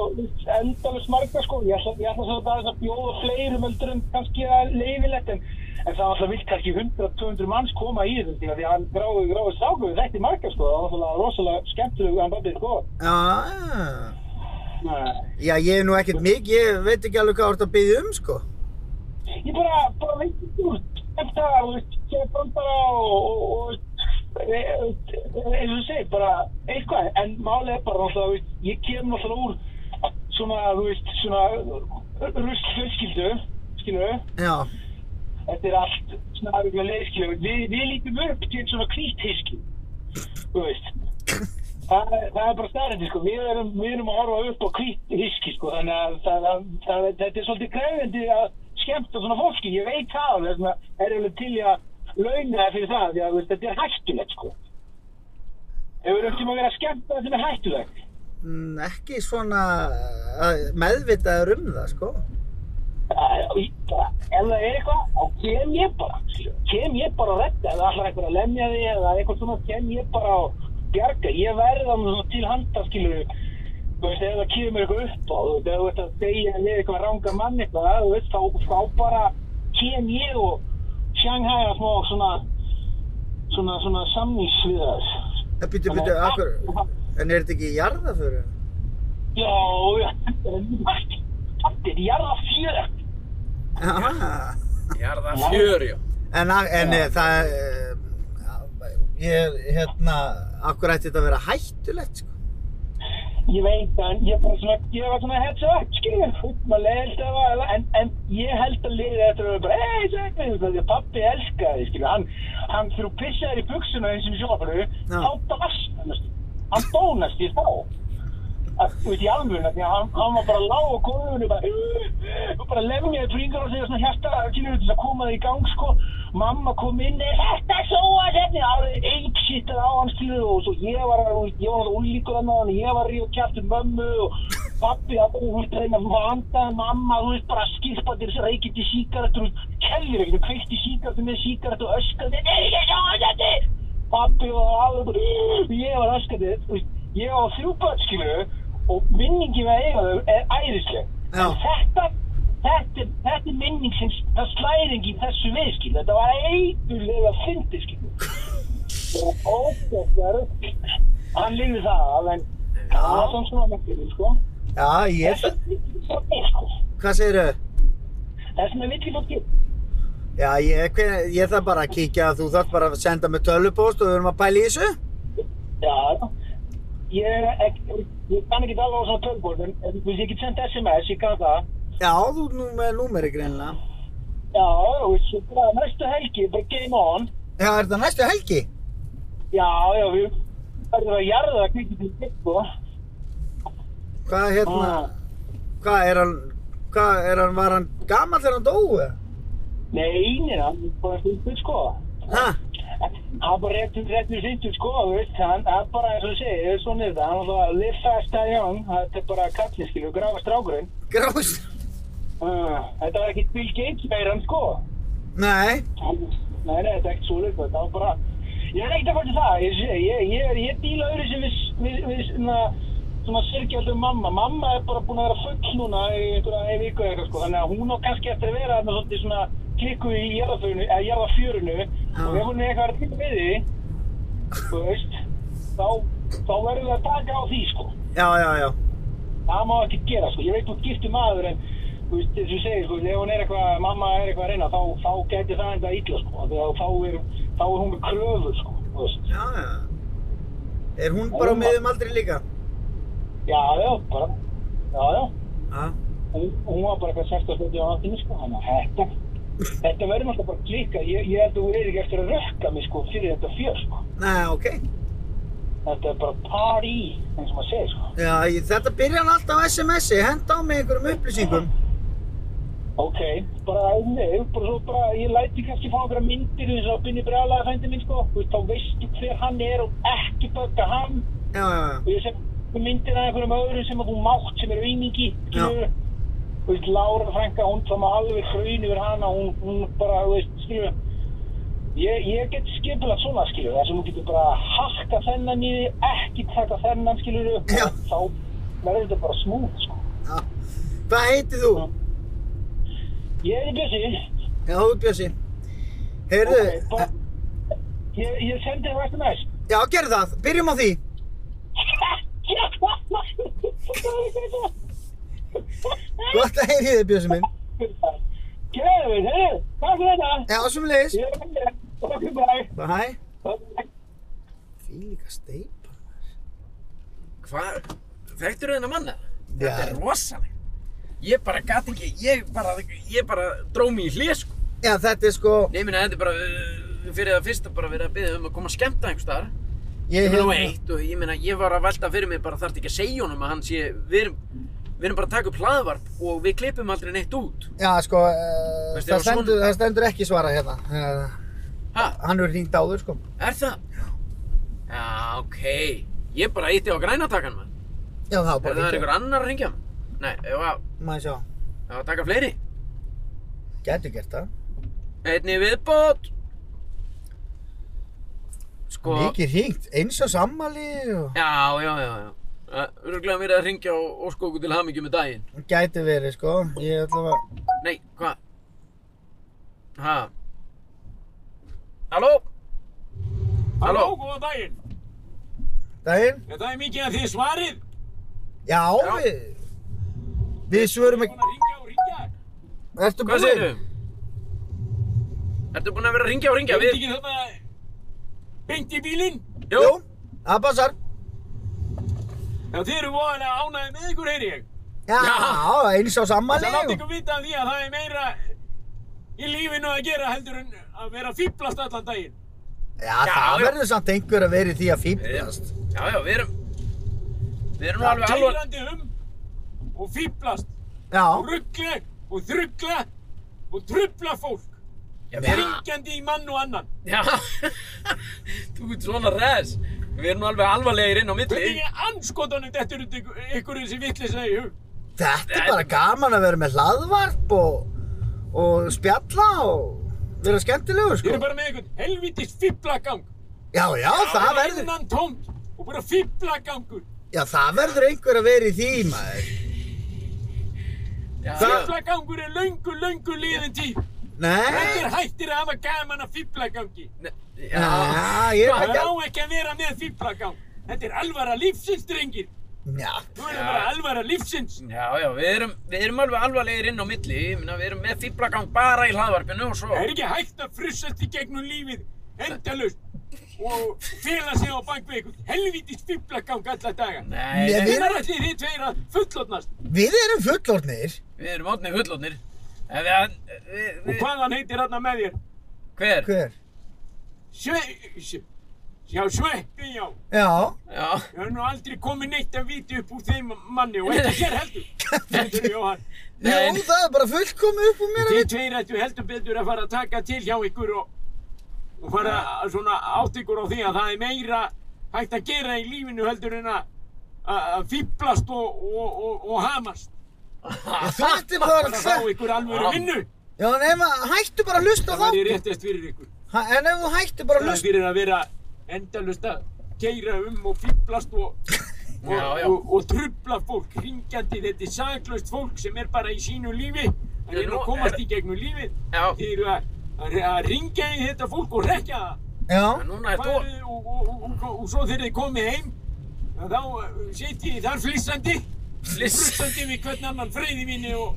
endalus marga sko ég ætla, ég ætla svo að, að bjóða fleirum heldur en kannski það er leifilegt en, en það var alltaf vilt kannski 100-200 manns koma í þetta því að hann gráði gráði stráku þetta er marga sko það var alltaf rosalega skemmtilegu hann babbið sko
Já.
Nei.
Já, ég er nú ekkert mikið, ég veit ekki alveg hvað þú ert að byggja um, sko.
ég bara, bara veit ekki úr þetta, þú veist, ég er bara bara og, og, og e- e- eins og þú segir, bara eitthvað, en málið er bara náttúrulega, þú veist, ég kem náttúrulega úr svona, þú veist, svona rusl fjölskyldu, skilur
Já.
þetta er allt svona aðeins leiðskilur, við, við lítum upp til svona kvítiski, þú veist. Það, það er bara staðrætti sko, við erum, við erum að horfa upp á hvít hiski sko, þannig að það, það, það, þetta er svolítið krefjandi að skemmta svona fólki, ég veit það alveg, þess vegna er alveg til í að launa það fyrir það, því að þú veist, þetta er hættulegt sko. Ef við erum ekki að vera að skemmta það sem er hættulegt.
Mm, Ekki svona eh, meðvitaður um það, sko.
Æ, og ég bara, Ef það er eitthvað, þá kem ég bara, skilju. kem ég bara að redda, eða allar eitthvað að lemja þig eða eitthvað svona, kem ég bara að bjarga, ég verði þannig svona til handa, skilju, þú veist, ef það kemur mér eitthvað upp á, þú veist, ef þú veist að segja með eitthvað ranga mann eitthvað, þú veist, þá, þá bara kem ég og sjanghæra smá svona, svona, svona samningsviðar.
Það býtu, býtu, akkur, en er þetta ekki jarðaföru?
Já, já, þetta er margt, þetta er jarða fjöra.
Já.
ég er það fjör, já.
En, a- en eh, það, eh, ég, hérna, akkur ætti þetta að vera hættulegt, sko.
Ég veit það, en ég bara svona, ég var svona heads up, skiljum við, fútt maður leiðilt að var, en, en ég held að liðið eftir að vera bara, hei, segja mig, því að pappi elskaði, skiljum við, hann, hann fyrir að pissa þér í buksuna eins og sjófru,
Já.
þá dast, hann dónast í þá, að, þú veit, í alvöruna, því að hann, hann var bara lág á góðunni, bara, uh, og bara lemjaði fringar og segja svona hérta, skiljum við, til að koma þig í gang, sko, mamma kom inn, er hérna, þetta svo að þetta, árið apeshitað á hann skiluðu og svo ég var, ég var náttúrulega úlíkur hann á hann, ég var ríð og kjæftur mömmu og pappi, það var hún reyna að vanda mamma, þú veist bara skilpa þér þessi reykið til síkaretur, kellir ekkert, kveikt í síkaretur með síkaretur og öskraði, er ég svo að þetta, pappi og alveg bara, ég var öskraði, þú veist, ég var þrjú börn skiluðu og minningi með eiga þau er æðisleg,
Já.
en þetta þetta, er- þetta er minning sem það slæðir ekki í þessu viðskil þetta var eiturlega fyndi skil og óbættar hann lifið það en það var svona svona mikil sko
Já, ég,
þess að
hvað segirðu?
sko. vill ég fótt gitt
Já, ég, hver- ég þarf bara að kíkja að þú þarf bara að senda mig tölvupóst og við erum að pæla í þessu.
Já, ég er ekki, ég kann ekki tala á svona tölbúr, en en, þú veist, ég get sendt SMS, ég kann það.
Já, þú ert nú með númeri greinlega.
Já, þú veist, ég bara næstu helgi, bara game on.
Já, er þetta næstu helgi?
Já, já, við verðum að jarða að kvikið til ditt, sko.
Hvað, hérna,
Ah.
hvað er hann, hvað er hann, var hann gammal þegar hann dói?
Nei, einir hann, er bara fylgdur, sko.
Hæ?
Hann bara réttur, réttur fylgdur, sko, þú veist, hann hann bara, eins og þú segir, svona er það, hann var að live fast and young, þetta er bara kallið, skilju, grafa strákurinn.
Grás?
Uh, þetta var ekki Bill Gates meirann, sko.
Nei.
Nei, nei, þetta er ekkert svo leik, það var bara, ég er ekkert að fara til það, ég sé, ég, ég, ég díla öðru sem við, við, við svona, svona sirkjaldum mamma, mamma er bara búin að vera full núna í einhverja ein viku eða eitthvað, sko, þannig að hún á kannski eftir að vera þarna svolítið svona klikku í jarðafjörunu, eða jarðafjörunu, og ef hún er eitthvað að ríka við því, þú veist, þá, þá verður það að taka á því, sko.
já, já, já.
það má ekki gera sko, ég veit þú ert giftur maður en þú veist, þess að segja sko, ef hún er eitthvað, mamma er eitthvað að reyna þá, þá gæti það enda illa sko, Af því að þá er, þá er hún með kröfur sko, þú veist,
Já, já. Er hún bara á miðum aldrei líka?
já, já, bara, já, já,
Já.
hún hún var bara eitthvað 16 stundin á náttinu sko, þannig að þetta, þetta verður náttúrulega bara klika, ég, ég held að þú er ekki eftir að rökka mig sko fyrir þetta fjör sko,
Nei, ok.
þetta er bara party, eins og maður segir sko,
Já, ég, þetta byrjar hann alltaf á SMS-i, henda á mig einhverjum upplýsingum.
ok, bara, nei, bara svo bara, ég læti kannski fá einhverja myndir eins og Binni Brjálaga fændi minn sko, þú veist, þá veistu hver hann er og ekki bögga hann
Já, já, já.
og ég sem myndir að einhverjum öðrum sem að þú mátt sem eru vinningi, skilur, þú veist, Lára frænka, hún þá maður alveg hraun yfir hana, hún, hún bara, þú veist, skilur, ég, ég get skipulað svona, skilur, þar sem hún getur bara hakka þennan í þig, ekki taka þennan, skilur,
Já.
þá verður þetta bara smúð, sko.
já. Hvað heitir
Ah.
þú?
Ég er í busið,
Já, þú ert Bjössi. Heyrðu,
Ok, bara- Ég, ég sendi það eftir næst.
já, gerð það. Byrjum á því. Gott að heyri þið, Bjössi minn.
Gæðu, heyrðu, takk fyrir þetta.
Já, sem leiðis.
Ég er ekki hér. Ok, bye.
Bæ.
Bye.
Fýlíka steipa.
Hvað? Þekktur þennan manna?
Já.
Þetta er rosalegt. Ég bara gat ekki, ég bara, ég bara dró mig í hlið, sko.
Já, þetta er sko...
Nei, minna, þetta er bara, uh, fyrir það fyrsta bara verið að byggja um að koma að skemmta einhvers staðar.
Ég
Ég meina, og
hérna-
eitt, og ég meina, ég var að velta fyrir mig bara þarf ekki að segja honum að hann sé, við erum, við erum bara að taka upp hlaðvarp og við klippum aldrei neitt út.
Já, sko, uh, það,
Veistu, ef að
stendur,
svona-
það stendur ekki svarað hérna. Uh,
Ha,
hann er hringt áður, sko.
er það? Já, ok. Ég bara ítti á grænatakan, mann.
Já, það var
Er
bara
það
hringt
einhver annar að ringja? Nei, ef að,
Maður sjá,
ef að taka fleiri.
gætu gert það.
Einni viðbót. Sko,
Mikið hringt, eins og sammali og...
já, já, já, já. Eh, Öruglega mér að ringja og óskóku til hamingju með daginn.
Gætu verið, sko. Ég ætla að...
Nei, hva? Ha? Halló? Halló?
góðan daginn.
Daginn?
Þetta er mikið að þið svarið.
Já,
Já.
við... Við svörum
Búin
ekki...
að ringja og ringja.
Ertu
Hvað segirðu?
búinn?
Ertu búinn að vera að ringja og ringja?
Ég veit ekki þarna beint í bílinn.
Jú.
Jú, það passar.
Já, þið eru voðalega ánægði með ykkur, heyri ég.
Já,
Já.
eins og sammali
Það látt
og...
ykkur vita af því að það er meira í lífinu að gera heldur en að vera að fýblast allan daginn.
Já,
Já,
það
já.
verður samt einhver að vera í því að
Við-
fýblast.
Já, já, við erum... Við erum nú alveg alveg...
Keirandi um og fýblast
Já,
og ruggla og þruggla og trubla fólk.
Já, við erum...
Ringjandi í mann og annan.
Já. Þú ert svona res. Við erum nú alveg alvarlegir inn á milli.
Hvernig er anskotanum þetta eru ykkur þessi vitleysa í hug?
þetta er
Þetta-
bara gaman að vera með hlaðvarp og... og spjalla og... vera skemmtilegur,
Þið
sko.
eru bara með einhvern helvitis fýblagang.
Já, já, það verður...
innan tómt og bara fýblagangur.
Já, það verður einhver að vera í því, maður.
Já,
Það-
já.
Fýblagangur er löngu, löngu liðin tíð.
Nei,
Þetta er hættir að hafa gaman af fýblagangi.
Ne-
Já, ég er
Hvað-
Það á
ekki-
ekki að vera með fýblagang. Þetta er alvara lífsins, drengir.
já,
Nú er
Já.
það bara alvara lífsins.
Já, já, við erum, við erum alveg alvarlegir inn á milli, ég meina við erum með fýblagang bara í hlaðvarpinu og svo...
Það er ekki hægt að frussast í gegnum lífið endalaust og fela sig á bak við einhvern helvítis fýblagang alla daga.
Nei,
Nei,
nei,
við-
Hvenær ætlið þið tveir að fullotnast?
við erum fullorðnir.
við erum átnið hullotnir. En við, við,
Og
við,
hvaðan heitir hann með þér?
hver?
Hver?
Sve... Sve... Já, sveppi, já.
Já,
Já,
Ég hef nú aldrei komið neitt að viti upp úr þeim manni og ekki þér heldur. Heldur Jóhann.
Nei.
jú, það er bara fullkomið upp úr mér að
Þið
vita.
tveir ættu heldur betur að fara að taka til hjá ykkur og, og fara að svona átt ykkur á því að það er meira hægt að gera í lífinu heldur en að að- að fýblast og, og, og, og hamast.
Þú ætti bara að
Bara að fá
segja.
ykkur alvöru vinnu.
Já, en ef að hættu bara að hlusta á
Það væri
þáttinn.
réttast fyrir ykkur.
Ha, En ef þú hættu bara að
Það er
hlusta.
fyrir að vera endalust að keira um og fýblast og, og,
Já, já.
og, og trubla fólk ringjandi þetta er saklaust fólk sem er bara í sínu lífi það
Já,
er
nú
að komast
er-
í gegnum lífið
Já.
þeir eru að, að, að ringja í þetta fólk og rekja það
Já,
en núna er
Farið
þú...
og, og, og, og, og svo þegar þið komið heim
að þá eh, sit ég þar flissandi, frussandi við hvern annan freyði mínu og,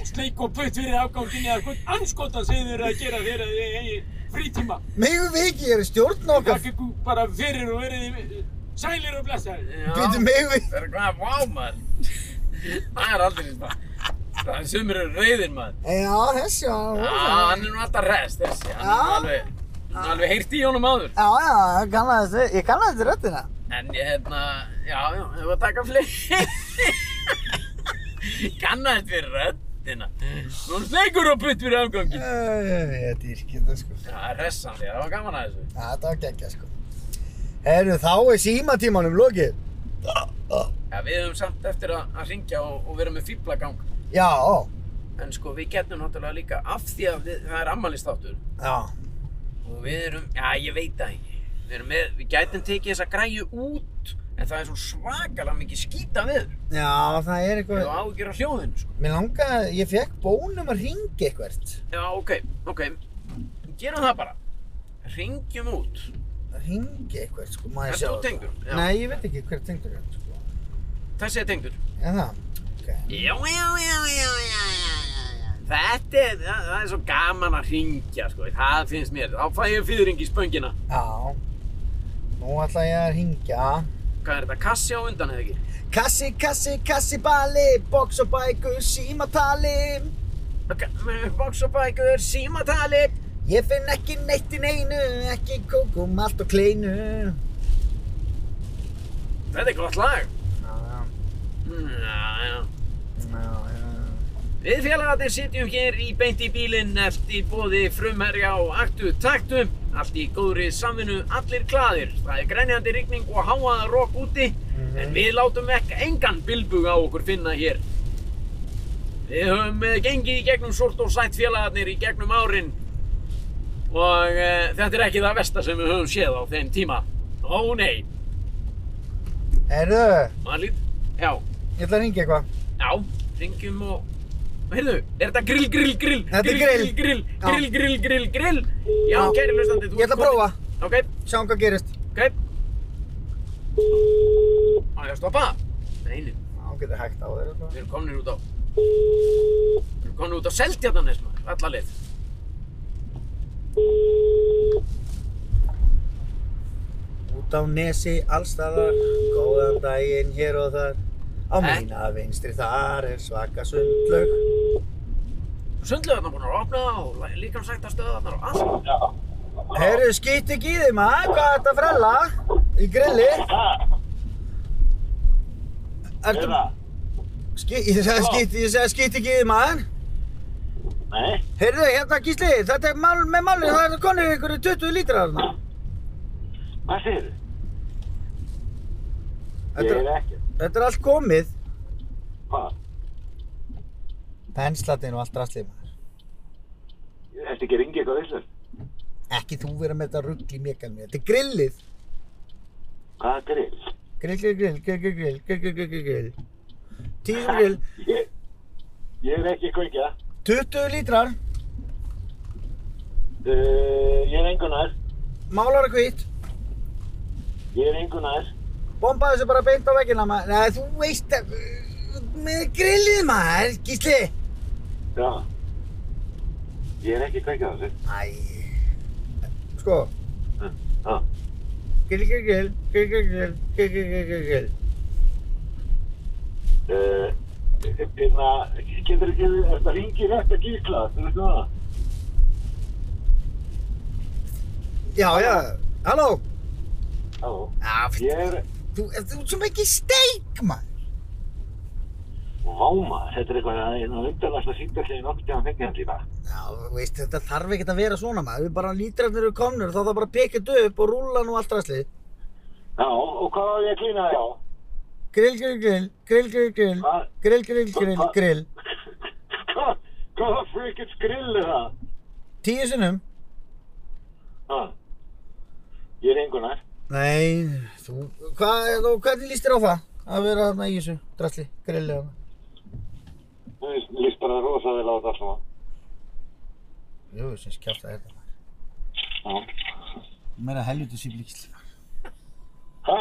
og sleik og putt fyrir afganginni að hvern anskotan sem þið eru að gera þegar þið eigið frítíma.
Megum við ekki, ég er stjórn okkar.
Takk ykkur bara fyrir og verið þið sælir og blessaðir.
Býtu megum við.
Það er hvað, vá maður. Það er aldrei svona. Það er sumir eru reyðir maður.
Já, þessi, já. hún
Já,
er það.
hann er nú alltaf rest, þessi. Hann er nú
Já.
alveg, hann er alveg heyrti í honum áður.
Já, já, ég kannaðist við- ég kannaðist við röddina.
En ég, hérna, já, já, ég var að taka fleiri. Kannaðist við röddina. Nú sleikur og putt fyrir afgangin.
Æ, Ég dýrkir þetta sko.
Já, það er ressandi, það var gaman að þessu.
Já, þetta var geggja sko. Herru, þá er símatímanum lokið.
Já, við höfum samt eftir að, að ringja og, og vera með fýblagang.
Já,
En sko, við getum náttúrulega líka, af því að við, það er ammælistáttur,
já.
og við erum, já ég veit það ekki við, erum með, við gætum tekið þessa græju út en það er svo svakalega mikið skýta við
Já, það er eitthvað.
og ágjur á hljóðinu sko.
Mér langaði, ég fekk bónum að ringa eitthvert.
já ok, ok, gerum það bara ringjum út
Ringa eitthvert sko, má ég
er
sjá
þú
það?
tengdur? Já.
Nei, ég veit ekki hver tengdur er sko.
þessi er tengdur
Er það? Ok.
já, já, já, já, já, já, já. þetta er, það, það er svo gaman að ringja sko. það finnst mér, þá fæ ég fyrring í spöngina
Já. Nú ætla ég að ringja.
hvað er þetta, kassi á undan eða ekki
Kassi, kassi, kassi, bali, box og bækur, símatali.
Ok, box og bækur, símatali
Ég finn ekki neitt í neinu, ekki kókum allt og kleinu.
þetta er gott lag
Já, já,
mm, já, já
já, já.
Við félagarnir sitjum hér í beint í bílinn eftir bóði frumherja og aktu taktum. Allt í góðri samvinnu, allir glaðir. Það er grænjandi rigning og háaða rók úti, en við látum ekki engan bilbug á okkur finna hér. Við höfum eh, gengið í gegnum súrt og sætt félagarnir í gegnum árin og uh, þetta er ekki það versta sem við höfum séð á þeim tíma. Ó nei,
Herru,
maður lít, já,
ég ætla að ringja eitthvað.
Já, ringjum og... Heyrðu, er þetta grill, grill, grill?
Þetta er grill.
Grill,
Já.
grill, grill, grill, grill, grill. Já,
Já.
kæri hlustandi, þú
Ég ætla að prófa,
Ok,
sjáum hvað gerist.
ok. Á, ég að stoppa? Nei, nei,
Já, hún getur hægt á þér eitthvað.
við erum komnir út á... Við erum komnir út á Seltjarnanes, maður, alla leið.
Út á nesi, allstaðar, góðan daginn hér og þar. Á
Eh?
mína vinstri þar er svaka sundlaug.
Sundlöðarnar búin að opna og líkamsækta stöðarnar og allt.
Herru, skýtt ekki í þig maður, hvað er þetta að frella? Í grilli? Ertu... Skýtt, ég sagði skýtt, ég sagði skýtt ekki í þig maður.
Nei,
Heyrðu, hérna Gísli, þetta er mál, með málið, það er konir einhverju 20 lítrar þarna.
hvað segirðu? Ég
Þetta,
er
er-
ekki.
þetta er allt komið.
Hvað?
Penslatinn og allt rastlið maður.
Ertu ekki að ringa eitthvað þessu?
Ekki þú vera með þetta rugl í mér, Þetta er grillið.
Hvað þetta er?
Grill, grill, grill, grill, grill, grill, grill, grill, grill, grill, grill. Tíu grill,
Ég, ég er ekki að kveikja.
20 lítrar,
Uh, ég er engunar.
málar að hvitt.
Ég er engunar.
Bombaði þessu bara beint á veggina maður. Nei, þú veist að... Með grillið maður, Gísli.
Já. Ég er ekki að kveikja þessu.
Æ. Sko,
Já.
grill, grill, grill, grill, grill, grill, grill, grill, grill, grill, grill.
Uh, Hérna, getur ekki, er þetta ringið rétt að gíkla? Þú veist það?
Já, já, halló.
Já.
Já, fyrir,
Ég er,
þú, ef þú ert svo mikið steik maður.
váma, þetta er eitthvað, hérna, það er það undanlæsta síndallegin okkur til að fengja hann lífa.
Já, þú veist, þetta þarf ekkert að vera svona maður. Við bara lítrarnir eru komnir, þá þarf bara að pekja þetta upp og rúlla nú allt rastlið.
Já, og hvað var ég að klína þig á?
Grill, grill, grill, grill, grill, grill,
Hvað?
grill, grill, grill,
Hvað?
grill.
Hvað, hvaða frikið skrill er það?
Tíu sinnum?
Ha? Ég er engunar.
Nei, þú... Hvað, þú, hvernig líst þér á það? Að vera þarna í þessu drasli, grilli þarna.
Mér líst bara rosa vel á þetta allt saman.
Jú, sem skjátt að þetta.
Já.
Mér er helviti síflíksl.
Ha?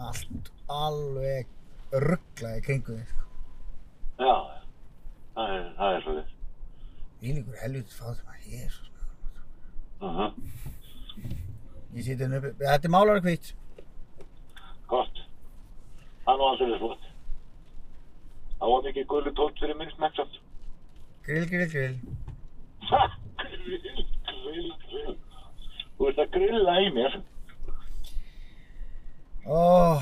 allt alveg rugglaði kringu þig, sko.
Já, það er, það er svolítið.
Ílíkur helvítið fátum að jésus.
Uh -huh.
Ég sýti henni uppi, þetta er málar hvitt.
Gott. Það er nú aðsölu flott. Það var mikið gullu tótt fyrir mig, smekksamt.
Grill, grill, grill.
Ha, grill, grill, grill. Þú ert að grilla í mér.
Óh.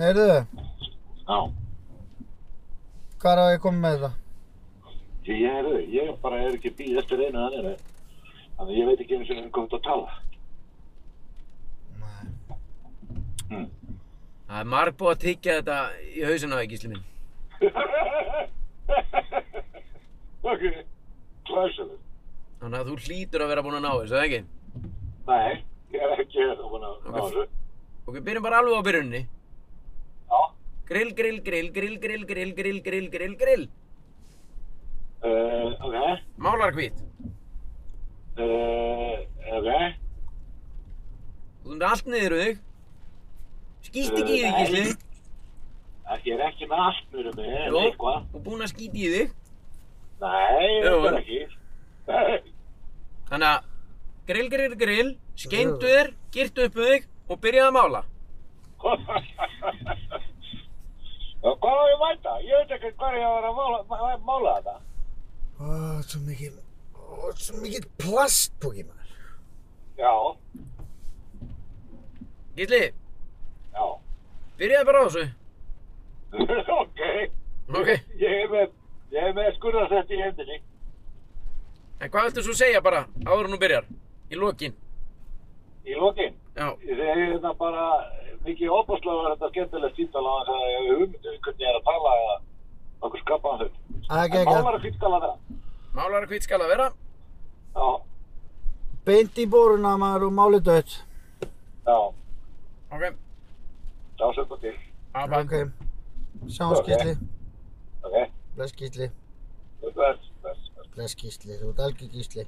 Heyrðu,
Já.
hvað er að ég komið með þetta?
Ég, ég, heyrðu, ég bara er ekki býð eftir einu að þeirra. Þannig að ég veit ekki einu sinni um hvað þú ert að tala.
Nei.
Hmm.
Það er marg búið að tyggja þetta í hausinu á þig, gísli minn.
ok, glæsilegt.
Þannig að þú hlýtur að vera búinn að ná þessu, eða ekki?
Nei, ég er ekki hérna búin að ná þessu.
Ok, byrjum bara alveg á byrjunni.
Já.
Grill, grill, grill, grill, grill, grill, grill, grill, grill, grill.
Uh, ok,
Málarkvít.
uh, ok.
Þú ert með allt niður um þig. Skýst ekki í þig,
Nei.
gísli.
Ég er ekki með allt mjög um mig, en
Jú.
eitthvað.
Og búinn að skýti í þig.
Nei,
Jú.
þetta er ekki. Nei,
Þannig að grill, grill, grill, skeindu þér, girtu upp um þig og byrjaðu að mála.
Já, Hvað var ég að mæta? Ég veit ekki hvað ég var að mála, má- mála þetta.
Ó, svo mikið, ó, svo mikið plastpóki maður.
Já,
Gísli,
já.
byrjaðu bara á þessu.
ok,
Ok.
ég er með, ég er með skurðarsett í hendinni.
En hvað viltu svo segja bara áður en þú byrjar? Í lokin.
Í lokin.
Já.
Ég segi þetta bara, mikið óbúslega var þetta skemmtilegt síntal á þess að ég hef hugmyndu hvernig ég er að tala eða okkur skapaðan þau.
Það er
En
geggjað.
málar er fýtt skala það.
Málarkvít skal að vera.
Já,
Beint í bóruna maður og málið dött.
já,
Ok.
já, sögum til.
Abba.
Ok. Sjáum
Ok.
skýtli.
Ok,
Bless skýtli.
þetta er, þetta er,
Bless gísli. Þú ert algjör gísli.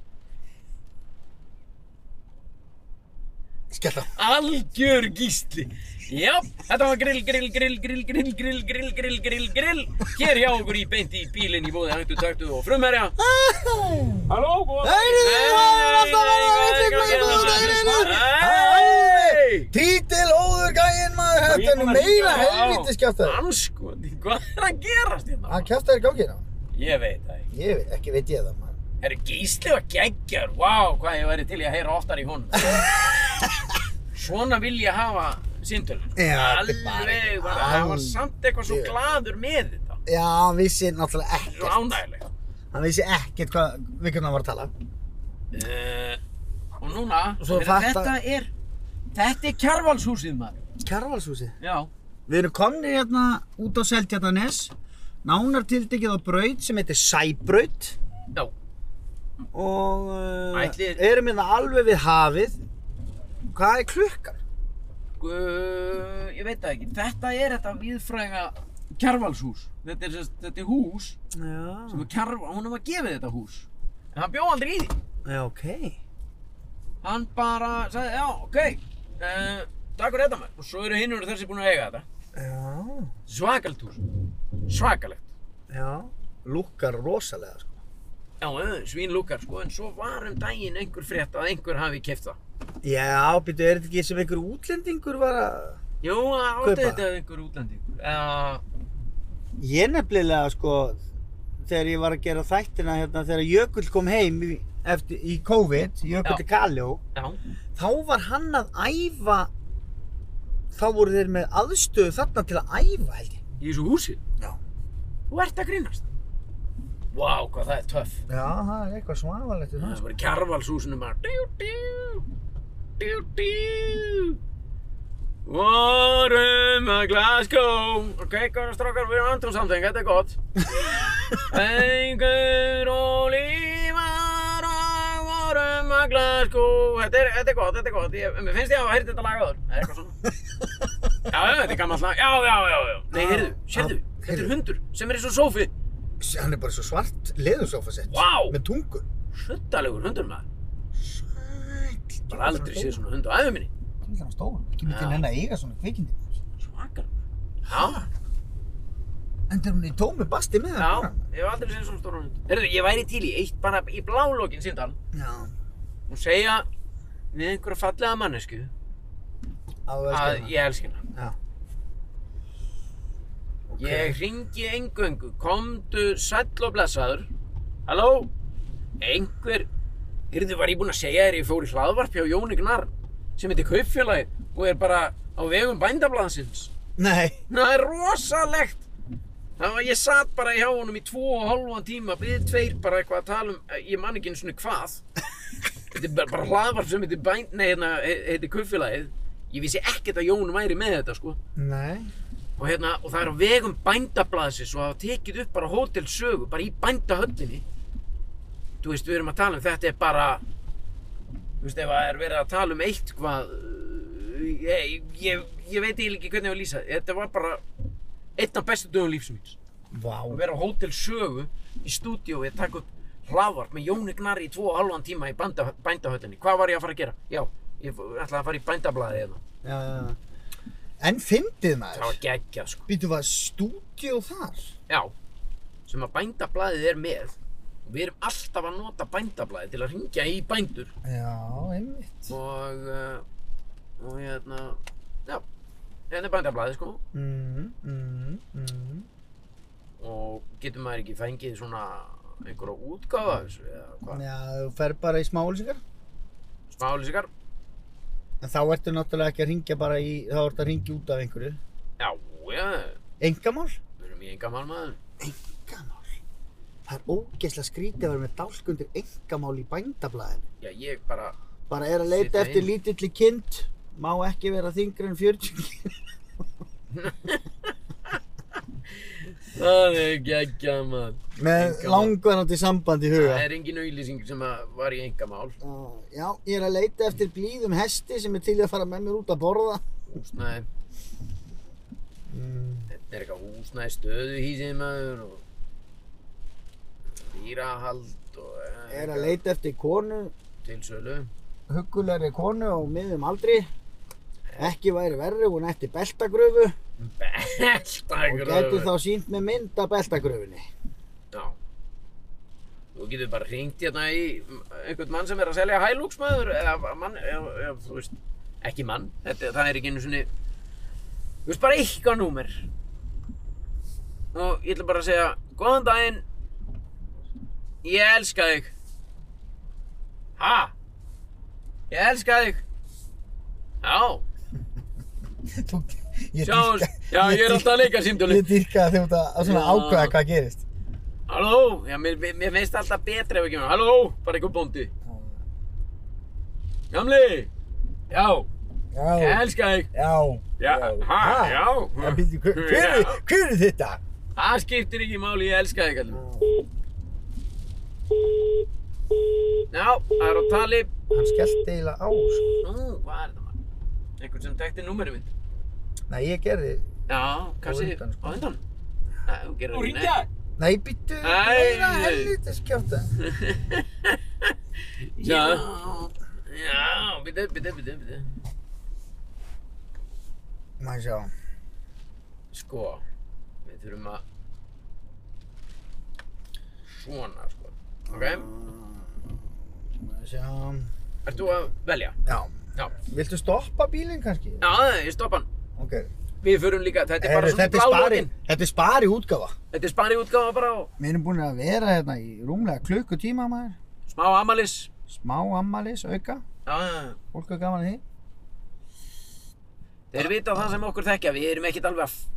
Skella.
Algjör gísli. Já, þetta var grill, grill, grill, grill, grill, grill, grill, grill, grill, grill. Hér hjá okkur í beint í bílinn í bóði hættu, taktu og frumherja.
Halló, góða.
Heyrðu, það er alltaf verið að vera vitlegur maður, það er vitlegur.
Hei!
Títil óður gæinn maður, þetta er nú meira helvítið skjáftæður.
Anskoti, hvað er að gerast hérna?
Hann kjáftæður í gangina.
Ég veit það ekki.
Ég veit, ekki veit ég það maður.
Herru, Gísli var geggjör, vá, hvað ég væri til í að heyra oftar í honum. Svona vil ég hafa síndölun.
Já, þetta er bara
Alveg,
ekki-
bara, hann var
Alveg.
samt eitthvað svo gladur með þetta.
Já, hann vissi náttúrulega
Svo
ekkert.
ánægilegt.
Hann vissi ekkert hvað, við hvernig hann var að tala.
Uh, og núna,
Svo
heyrðu,
fatta-
þetta er, þetta er kjarvalshúsið maður.
Kjarvalshúsið.
Já.
Við erum komnir hérna út á Seltjarnanes Nánar tiltekið á braut sem heitir Sæbraut
Já.
Og uh,
Ætli-
erum hérna alveg við hafið Hvað er klukkan?
Uh, ég veit það ekki, þetta er þetta viðfræga kjarvalshús. Þetta er, sest, þetta er hús
Já,
sem er kjarval, honum var gefið þetta hús. En hann bjó aldrei í því.
já ok
Hann bara sagði, já, ok, uh, takk fyrir þetta maður. Og svo eru hinnur þessi búin að eiga þetta.
Já,
Svakalt hús. Svakalegt.
já Lúkkar rosalega sko
Já, eh, svín lúkar sko, en svo var um daginn einhver frétt að einhver hafi keft það.
Já, býttu, er þetta ekki sem einhver útlendingur var að
Jú, það
Kaupa.
átti þetta einhver útlendingur. Já,
Ég nefnilega sko Þegar ég var að gera þættina hérna Þegar Jökull kom heim í, eftir, í COVID Jökull
Já.
til Kaljó
já,
þá var hann að æfa þá voru þeir með aðstöðu þarna til að æfa held ég
í þessu húsi.
Já.
Þú ert að grínast. Vá, hvað það er töff.
Já, það er eitthvað svavalegt við sko.
Það var í kjarvalshúsinu bara djú, djú, djú, djú. Vorum að Glasgow Ok, góðan strákar, við erum andrum samteng, þetta er gott Einhver og lífar og vorum að Glasgow Þetta er, þetta er gott, þetta er gott ég, Mér finnst ég að hafa heyrt þetta lag áður Það er eitthvað svona Já, já, þetta er gammalt lag, já, já, já, já Nei, heyrðu,
Já,
sérðu, þetta
heyrðu.
er hundur sem er eins og sófi
Hann er bara svo svart leðursófa sett
Vá!
með tungu
Suttalegur hundur maður
Sæll
Bara aldrei séð svona hund á æðu minni
djöfull er hann stór. Kemur til
Já.
henni að eiga svona kvikindi.
Svakar. Já,
Endur hún í tómi basti með
já,
hann.
ég hef aldrei séð svona stóran hund. Herðu, ég væri til í eitt bara í blálókin síndal
Já.
og segja við einhverja fallega mannesku
Að þú
að
elskar hann.
ég elsk hana.
Já. Ok.
Ég ringi engöngu, komdu sæll og blessaður. Halló? Einhver, heyrðu var ég búinn að segja þér, ég fór í hlaðvarp hjá Jóni Gnar sem heitir Kaupfélagi og er bara á vegum bændablaðsins.
Nei.
Það er rosalegt! Það var, ég satt bara hjá honum í tvo og hálfan tíma, við tveir bara eitthvað að tala um, ég man ekki einu svona hvað. þetta er bara, bara hlaðvarp sem heitir bænd, nei, hérna, he- heitir Kaupfélagið. Ég vissi ekkert að Jón væri með þetta, sko
Nei.
og, hérna, og það er á vegum bændablaðsins og hafa tekið upp bara hótelsögu bara í bændahöllinni þú veist, við erum að tala um þetta er bara þú veist, ef það er verið að tala um eitt hvað ég, ég, ég veit eiginlega ekki hvernig ég var að lýsa því. þetta var bara einn af bestu dögum lífs míns
Vá.
að vera á hótelsögu í stúdíói að taka upp hlaðvarp með Jóni Gnarri í tvo og halvan tíma í bænda, bændahöllinni hvað var ég að fara að gera? Já, ég ætlaði að fara í bændablaði eða
Já, já, já. En fyndið
það
maður.
var geggjað sko
Býtu var stúdíó þar?
Já, sem að bændablaðið er með og við erum alltaf að nota bændablaðið til að ringja í bændur
Já, einmitt.
og uh, og hérna já, hérna er bændablaðið sko
Mm, mm, mm.
og getur maður ekki fengið svona einhverja útgáfa af þessu eða hvað,
Já, þú fer bara í smáhulsingar.
smálísikar
En þá ertu náttúrulega ekki að ringja bara í, þá ertu að ringja út af einhverju.
já, já,
Engamál?
við erum í engamál maður
Engamál? Það er ógeðslega skrítið að vera með dálk undir engamál í bændablaðinu.
já, ég bara,
Bara er að leita
Sittu
eftir
inn.
lítilli kind, má ekki vera þingri en 40 kíl.
það er geggjað maður
Með
Engamál.
langvarandi samband í huga.
það er engin auðlýsing sem að var í engamál
Uh, Já, ég er að leita eftir blíðum hesti sem er til í að fara með mér út að borða.
húsnæði þetta er eitthvað húsnæði stöðuhísið maður og dýrahald og eh,
Er að leita eftir konu,
til sölu
huggulegri konu á miðum aldri. Ekki væri verri, hún ætti beltagröfu Mm. og
beltagröfur
gæti þá sínt með mynd af beltagröfunni.
já þú getur bara hringt hérna í einhvern mann sem er að selja hælúks maður eða mann, eða, eða, þú veist ekki mann, þetta, það er ekki einu svona þú veist bara eitthvað númer og ég ætla bara að segja góðan daginn ég elska þig ha? ég elska þig já,
Þú, ég
sjáumst já, ég er alltaf að leika símtölu
Ég dýrka þegar þú ert að svona
Já.
ákveða hvað gerist.
Halló, já, mér, mér mér finnst alltaf betra ef ekki með Halló, bara einhver bóndi Gamli Já, ég
Já,
elska þig
já,
Já, ha,
Ha?
já
já, býttu, hver, hver, er-
Já.
hver er þetta?
Það skiptir ekki máli, ég elska þig kallum Já, það er á tali
Hann skellti eiginlega á, sko.
Nú, hvað er þetta maður? Einhvern sem tekti númerið mitt
Nei, ég gerði,
Já, kannski
undan, sko.
á undan Nei, þú
Þú
gerir ekki
ringja
nei, býttu,
Nei,
meira
nei.
helvita skjáta.
neitt Já Já, byrju, byrju, byrju, byrju
Má sjá,
Sko, við þurfum að Svona, sko Ok,
má sjá,
ert þú að velja?
já.
Já.
Viltu stoppa bílinn kannski?
Já, ég stoppa hann
Ok.
Við förum líka, þetta er bara
Herru,
svona
þetta er spari,
blálókin.
þetta er spari útgafa.
Þetta er spari útgáfa bara og
Við erum búin að vera hérna í rúmlega klukkutíma, maður.
smá amalis
Smá ammalis, auka.
Já, já, já.
Fólk er gaman að því.
Þeir vita það sem okkur þekkja, við erum ekkert alveg að f-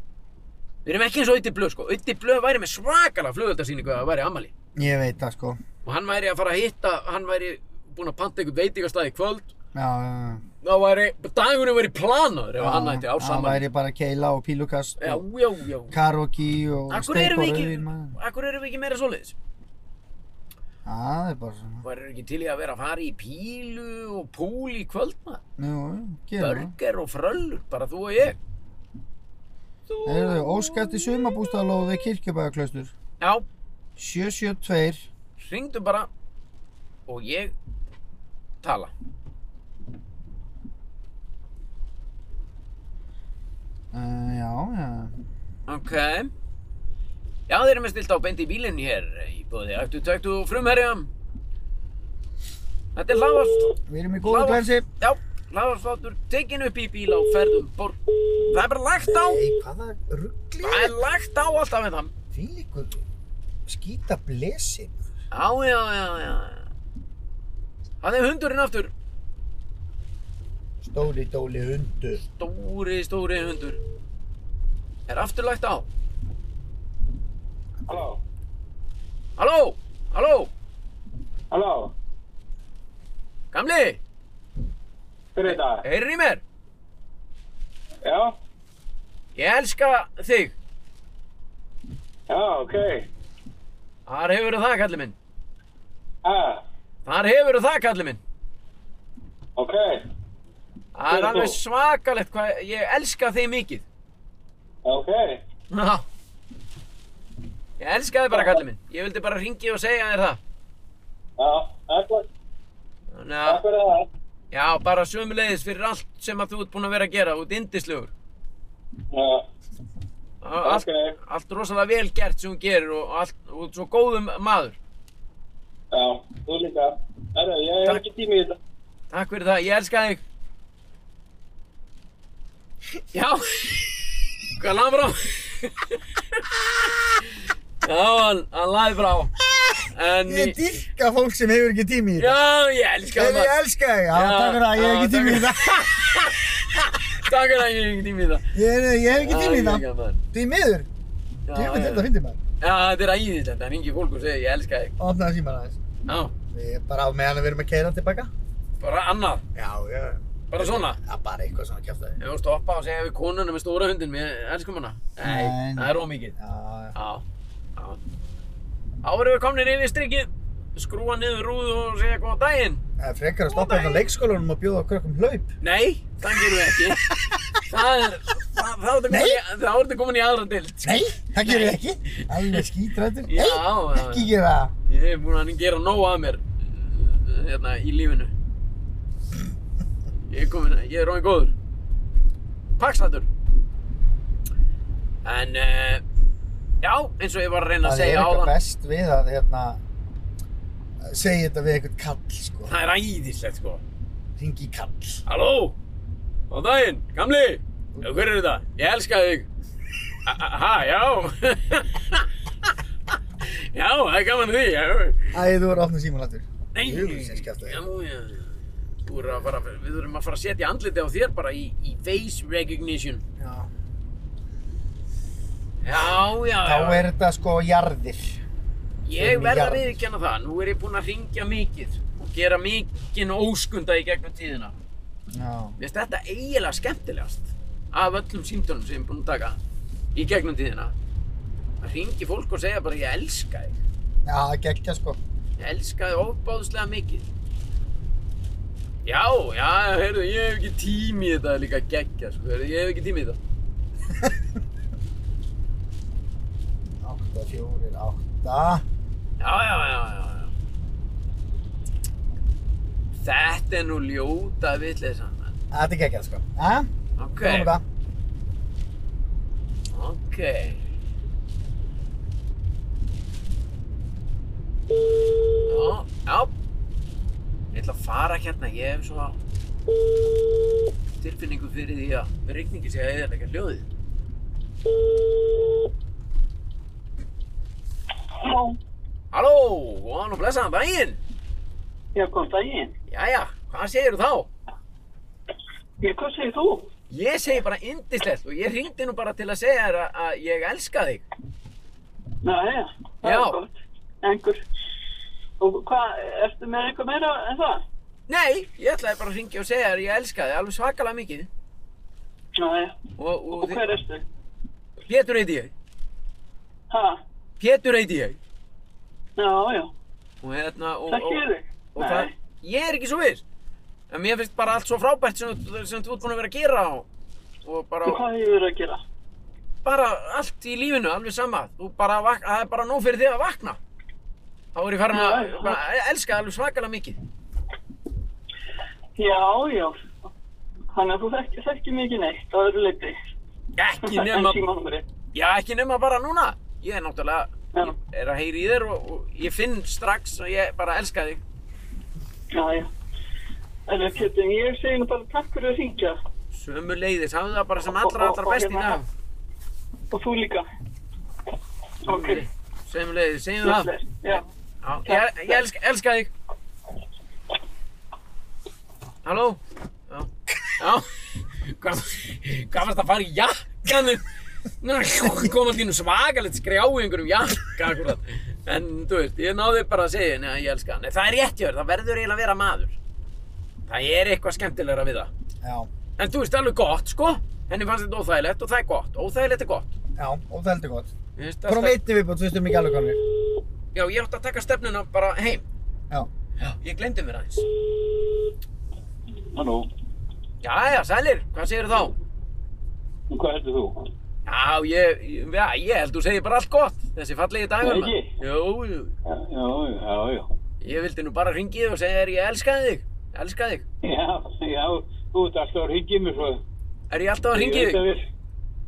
Við erum ekki eins og Ötti Blöð, sko Ötti Blöð væri með svakalega flugöldarsýningu að það væri amali
Ég veit það, sko.
Og hann væri að fara að hitta, hann væri búinn að panta einhvern veitingastað í kvöld
Já, já, já.
Það væri, dagurinn væri planaður ef
Já,
hann ætti ár
Það
saman
væri bara keila og pílukast
Já,
og
já, já
karaoke og
Akkur
steik
erum
og
við
rauðvín,
ekki,
maður.
akkur erum við ekki meira svoleiðis?
Já, það er bara svona.
Væri ekki til í að vera að fara í pílu og púl í kvöld, maður?
Jú, jú, gerum það.
Börger og fröllur, bara þú og ég. Þú...
Erum við óskæfti sumabústaðalóð við kirkjubæðaklaustur?
Já,
772.
hringdu bara og ég tala.
Eh, já, já.
Ok. Já, þeir eru með stilt á beint í bílinn hér í bóði ættu, tæktu og frumherja. Þetta er hlaðvarp.
Við erum í góðu glensi.
Já, hlaðvarpslátur tekin upp í bíl á ferðum borg. Það er bara lagt á.
Ei, hvaða ruggli?
Það er lagt á alltaf með það.
Fylíkur skýta blesi.
Já, já, já, já. Það er hundurinn aftur.
Stóri dóli hundur.
Stóri, stóri hundur. Er aftur lagt á.
Halló,
Halló, halló,
halló,
gamli,
hver er þetta?
heyrir í mér?
Já,
Ég elska þig.
já, ok.
Þar hefur það, kalli minn.
Ah,
Þar hefur það, kalli minn.
ok.
Það er
Hver er
alveg
þú?
svakalegt hvað ég elska þig mikið.
Ok.
Já. Ég elska þig bara, kalli minn. Ég vildi bara ringi og segja þér það.
Já, takk fyrir-
Þannig
takk
að,
fyrir það.
já, bara sömuleiðis fyrir allt sem að þú ert búinn að vera að gera. Þú ert indislegur.
Já,
Allt,
Ok.
allt rosalega vel gert sem þú gerir og, allt, og svo góðum maður.
já, þú líka. Herra, ég hef
Takk.
ekki tími í þetta.
Takk fyrir það, ég elska þig. Já, hvað laði frá? Já, hann, hann laði frá. En,
Ég dyrka fólk sem hefur ekki tími í þetta.
já, ég elska
Ef
það.
ég elska þig, já,
Já,
takk fyrir það, ég hef
já,
ekki tími í
takk
það.
Takk fyrir að ég hef ekki tími í það.
Ég ég hef ekki tími í það.
það.
Því miður,
Já,
ég veit
já.
þetta fyndi maður.
Já, þetta er æðislegt, hann ringi fólk og segja ég elska þig.
Opnaði síman aðeins.
Já,
Við erum bara á meðan við erum að keira tilbaka.
bara annað,
Já, já,
bara svona.
það er bara eitthvað svona kjæftæði.
Ef þú stoppa og segja við konuna með stóra hundin, við elskum hana. Nei,
Nei.
það er ómikið.
Já, já.
Já, já. Þá erum við komnir yfir strikið, skrúa niður rúðu og segja góðan daginn.
Það er frekar að stoppa hérna á leikskólanum og bjóða okkur okkur hlaup.
Nei, það gerum við ekki. það er, það, þá ertu komin, í- þá ertu komin í aðra dild.
Nei, það gerir ég ekki. Alveg skítrættur.
Já,
Nei,
já, já.
ekki gera það.
Ég hef búin að gera nóg að mér, uh, hérna, í lífinu. Ég er komin, ég er róin góður. Pakslættur. En, uh, já, eins og ég var að reyna að
Það er
segja á
eitthvað
það.
best við að hérna, segja þetta við eitthvað kall, sko.
Það er æðislegt, sko.
Ringi í kall.
Halló, á daginn, gamli, Já, hver er þetta? Ég elska þig. A- a- Ha, já. já, það er gaman að því, já.
Æ, þú er að opna síman aftur.
Nei,
Jú, sem skjátt að
já, já. Þú er að fara, við þurfum að fara að setja andliti á þér bara í, í face recognition.
Já.
Já, já, já.
Þá er þetta sko jarðir.
Ég
um
verð að
jarðir.
viðkjanna það, nú er ég búinn að ringja mikið og gera mikinn óskunda í gegnum tíðina.
Já.
Mér finnst þetta eiginlega skemmtilegast af öllum símtölum sem ég er búinn að taka í gegnum tíðina. Það ringi fólk og segja bara ég elska þig.
Já, það geggja sko.
Ég elska þig ofbáðslega mikið. Já, já, heyrðu, ég hef ekki tími í þetta það er líka geggja, sko, heyrðu, ég hef ekki tími í þetta.
8, 4, 8.
Já, já, já, já, já. Þetta er nú ljóta vitleysan. menn.
Þetta er geggjað sko. Hæ?
Ok,
Komum við það.
ok. Já, já. Ég ætla að fara hérna, ég hef svona tilfinningu fyrir því að rigningi sé að eðalega hljóðið.
Halló,
Halló, góðan og blessaðan daginn!
ég kom daginn.
Jæja, hvað segirðu þá?
Ég, hvað segir þú?
Ég segi bara indislegt og ég hringdi nú bara til að segja þér að, að ég elska þig.
Nei, það
Já.
er gott. Engur. Og hvað, ertu með eitthvað meira en það?
Nei, ég ætlaði bara að hringja og segja þér að ég elska þig alveg svakalega mikið.
Nei,
Og, og,
og hver ertu?
Pétur heiti ég.
Ha,
Pétur heiti ég.
já, já,
Og hérna, og...
það
og-
gerir þig.
og það,
Nei,
ég er ekki svo viss en mér finnst bara allt svo frábært sem, þú- sem þú ert búin að vera að gera og, og bara,
og hvað hefur verið að gera?
bara allt í lífinu, alveg sama þú bara, vak- það er bara nóg fyrir þig að vakna þá er ég farin að
Já, já.
bara, elska það alveg svakalega mikið
Já, já. Þannig að þú þekki, þekki mikið neitt á öðru leiti.
Ekki nema,
Símanúmerið.
já ekki nema bara núna. Ég er náttúrulega,
Já.
ég er að heyri í þér og, og ég finn strax að ég bara elska þig.
Já, já. En eh, Pétur, ég segi nú bara takk fyrir að hringja.
Sömu leiðis, hafðu það bara sem allra, allra best í dag.
Og þú líka. Ok.
Sömu leiðis, segjum það.
Já.
Já, ég, ég elska, elska þig. Halló? Já. Já. Hvað, hvað varst að fara í jakkanum? Nú, kom allir nú svakalegt skrjá í einhverjum jakka akkurat. En, þú veist, ég náði bara að segja henni að ég elska hann. En það er rétt hjá þér, það verður eiginlega að vera maður. Það er eitthvað skemmtilegra við það.
Já,
En þú veist, alveg gott, sko. Henni fannst þetta óþægilegt og það er gott. Óþægilegt er gott.
já, og það heldur gott.
Mér finnst
Hvað
alltaf-
um einni viðbútt, þú veist um ekki alveg konir.
Já, ég átti að taka stefnuna bara heim.
Já.
Já, ég glemdi mér aðeins.
Halló,
Jæja, sælir, hvað segir þá?
og hvað heldur þú?
Já, ég, ég- já, ég held þú segir bara allt gott, þessi fallegi dagur.
Nei,
maður.
ekki.
Jú, jú,
Já, já, já, já.
ég vildi nú bara hringi þig og segja þér ég elska þig, elska þig.
Já, já, þú ert alltaf að ringið mér svo.
Er ég alltaf að
Ég
hringi
veit að
þig?
við-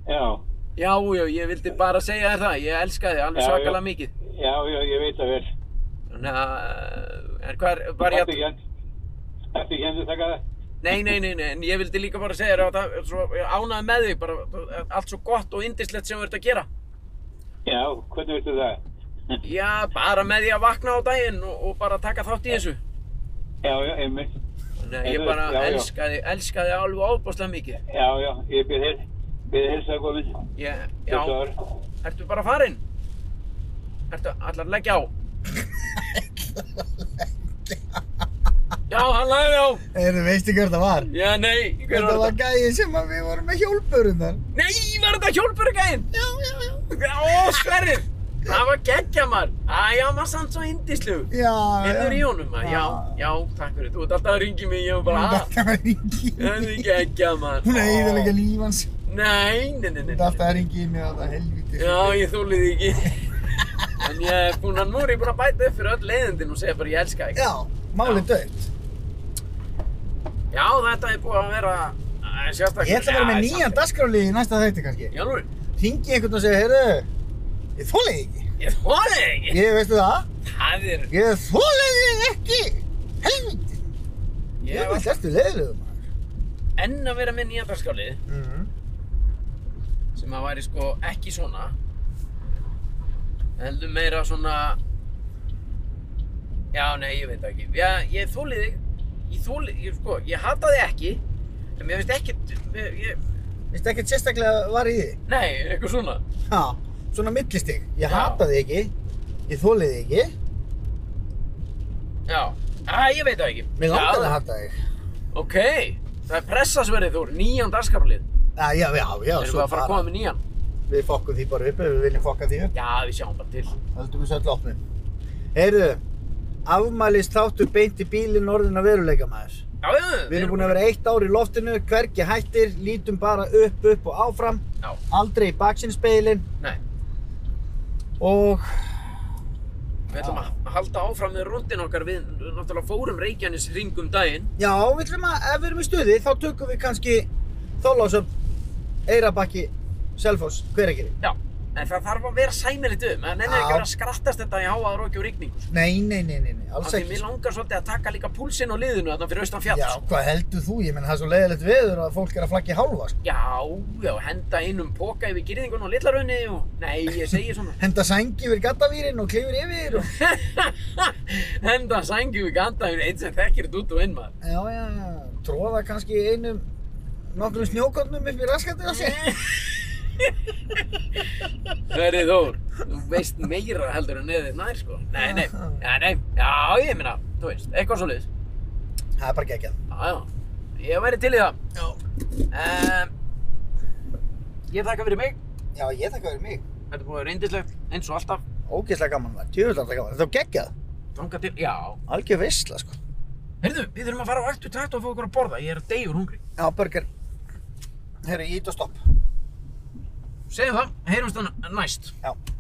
Já,
Já, já, ég vildi bara segja þér það, ég elska þig alveg
Já, já.
svakalega mikið.
já, já, ég veit að vel.
Þannig að, en hvað er, var ég að,
Ertu ekki enn- ertu ekki endur taka það?
nei, nei, nei, nei, en ég vildi líka bara segja þér að það, er svo, ég ánaði með þig, bara allt svo gott og indislegt sem þú ert að gera.
Já, hvernig veistu það?
Já, bara með því að vakna á daginn og, og bara taka þátt í þessu.
Já, já, einmitt.
Þannig að ég
Já,
bara
já, já.
elska þig, elska þig alveg óbáslega mikið.
Já, já, ég byrði hér, byrði hér sagði komin.
Ég, já, ertu bara farinn? Ertu allar að leggja á? já, hann lagði á.
Heyrðu, veistu hver það var?
Já, nei, hver
Þetta
var
var
þetta?
gæði sem að við vorum með hjólpurum þar.
Nei, var þetta hjólpurgæðin?
Já, já, já.
Ó, sverrið. Það var geggja maður. Æja, maður sann svo indislu.
Já, já.
Hefur í honum maður? Já, já, takk fyrir. Þú ert alltaf að ringi mig, ég var bara að.
Þetta var ringi.
Það er geggja maður.
Hún er eiginlega líf hans.
Nei, nei, nei, nei.
Þetta alltaf ringi í mig og þetta helviti.
Já, ég þólið þig ekki. en ég er búinn að, nú er ég búinn að bæta upp fyrir öll leiðindin og segja bara ég elska þig.
Já, málið dött.
Já, þetta er búið að vera eh, sérstaklega.
Ég ætla að vera með nýjan dagskráli í næsta þætti kannski.
Já, nú,
Ringi einhvern og segja, heyrðu, ég þólið ekki.
ég þólið þig ekki.
Ég, veistu það?
Það er,
Ég þólið þig ekki. Helviti. Ég
ég
var
var
hlæstu leiðilegum maður.
enn að vera með nýjan dagskálið
Mhm.
sem að væri sko ekki svona. Heldur meira svona, já, nei, ég veit það ekki. Já, ég þólið þig. Ég þólið, ég sko, ég hata þig ekki. En mér finnst ekkert, mér- ég,
Veistu ekkert sérstaklega var í því?
nei, eitthvað svona.
Já, svona millistig. Ég
Já.
hata þig ekki, ég þólið þig ekki,
Já, að ég veit það ekki.
mér langar
Já,
að hata þig.
Ok, það er pressasverðið Þór, nýjan dagskapalið.
Já, já, já, já,
Erum við að fara að koma með nýjan?
Við fokkum því bara upp ef við viljum fokka því upp.
Já, við sjáum bara til.
Höldum við svolítið opnum. Heyrðu, afmælist þáttu beint í bílinn orðin að veruleika maður.
Já, við,
Við erum búin að vera eitt ár í loftinu, hvergi hættir, lítum bara upp, upp og áfram.
Já.
Aldrei í baksinspeilin
Nei,
og
við ætlum að halda áfram með rúndin okkar. Við náttúrulega fórum Reykjanes ring um daginn.
já, við ætlum að, ef við erum í stuði, þá tökum við kannski Þólásöp, Eirabakki, Selfoss, Hveragerði.
Já, en það þarf að vera sæmilegt um. Það nennir
Já.
ekki að vera að skrattast þetta í háaðar og ekki úr rigningu. sko.
Nei, nei, nei, nei, nei,
Af
alls
Því
ekki. sko.
mér langar svolítið að taka líka púlsinn á liðinu þarna fyrir austan fjall.
Já,
sko.
hvað heldur þú? Ég menn það er svo leiðilegt veður að fólk er að flagga í hálfa, sko.
Já, já, henda inn um póka yfir gyrðingun og lillarunni og... Nei, ég segi svona.
Henda sængi yfir gattavírinn og klifur yfir og...
Henda sængi við gandafinn einn sem þekkir þetta út og inn maður.
Já, já, já, tróða kannski einum, nokkrum snjókornum upp í raskatið á sér.
Verði Þór, þú veist meira heldur en neðið nær sko. Nei, nei, já, nei, já, ég meina, þú veist, eitthvað svo liðis.
Það er bara geggjað.
Já, já, ég væri til í það. Já. ég þakka fyrir mig,
Já, ég þakka fyrir mig.
þetta er búið að vera reyndislegt, eins og alltaf,
Ógeðslega gaman var, tjöfulega gaman. Þetta var geggjað.
þanga til, já.
Algjör veistla, sko.
Heyrðu, við þurfum að fara á ektu takt og fá okkur að borða, ég er að deyja úr hungri.
Já, burger. Herru, ég ít og stopp.
Segðu það, heyrumst þannig næst.
Já.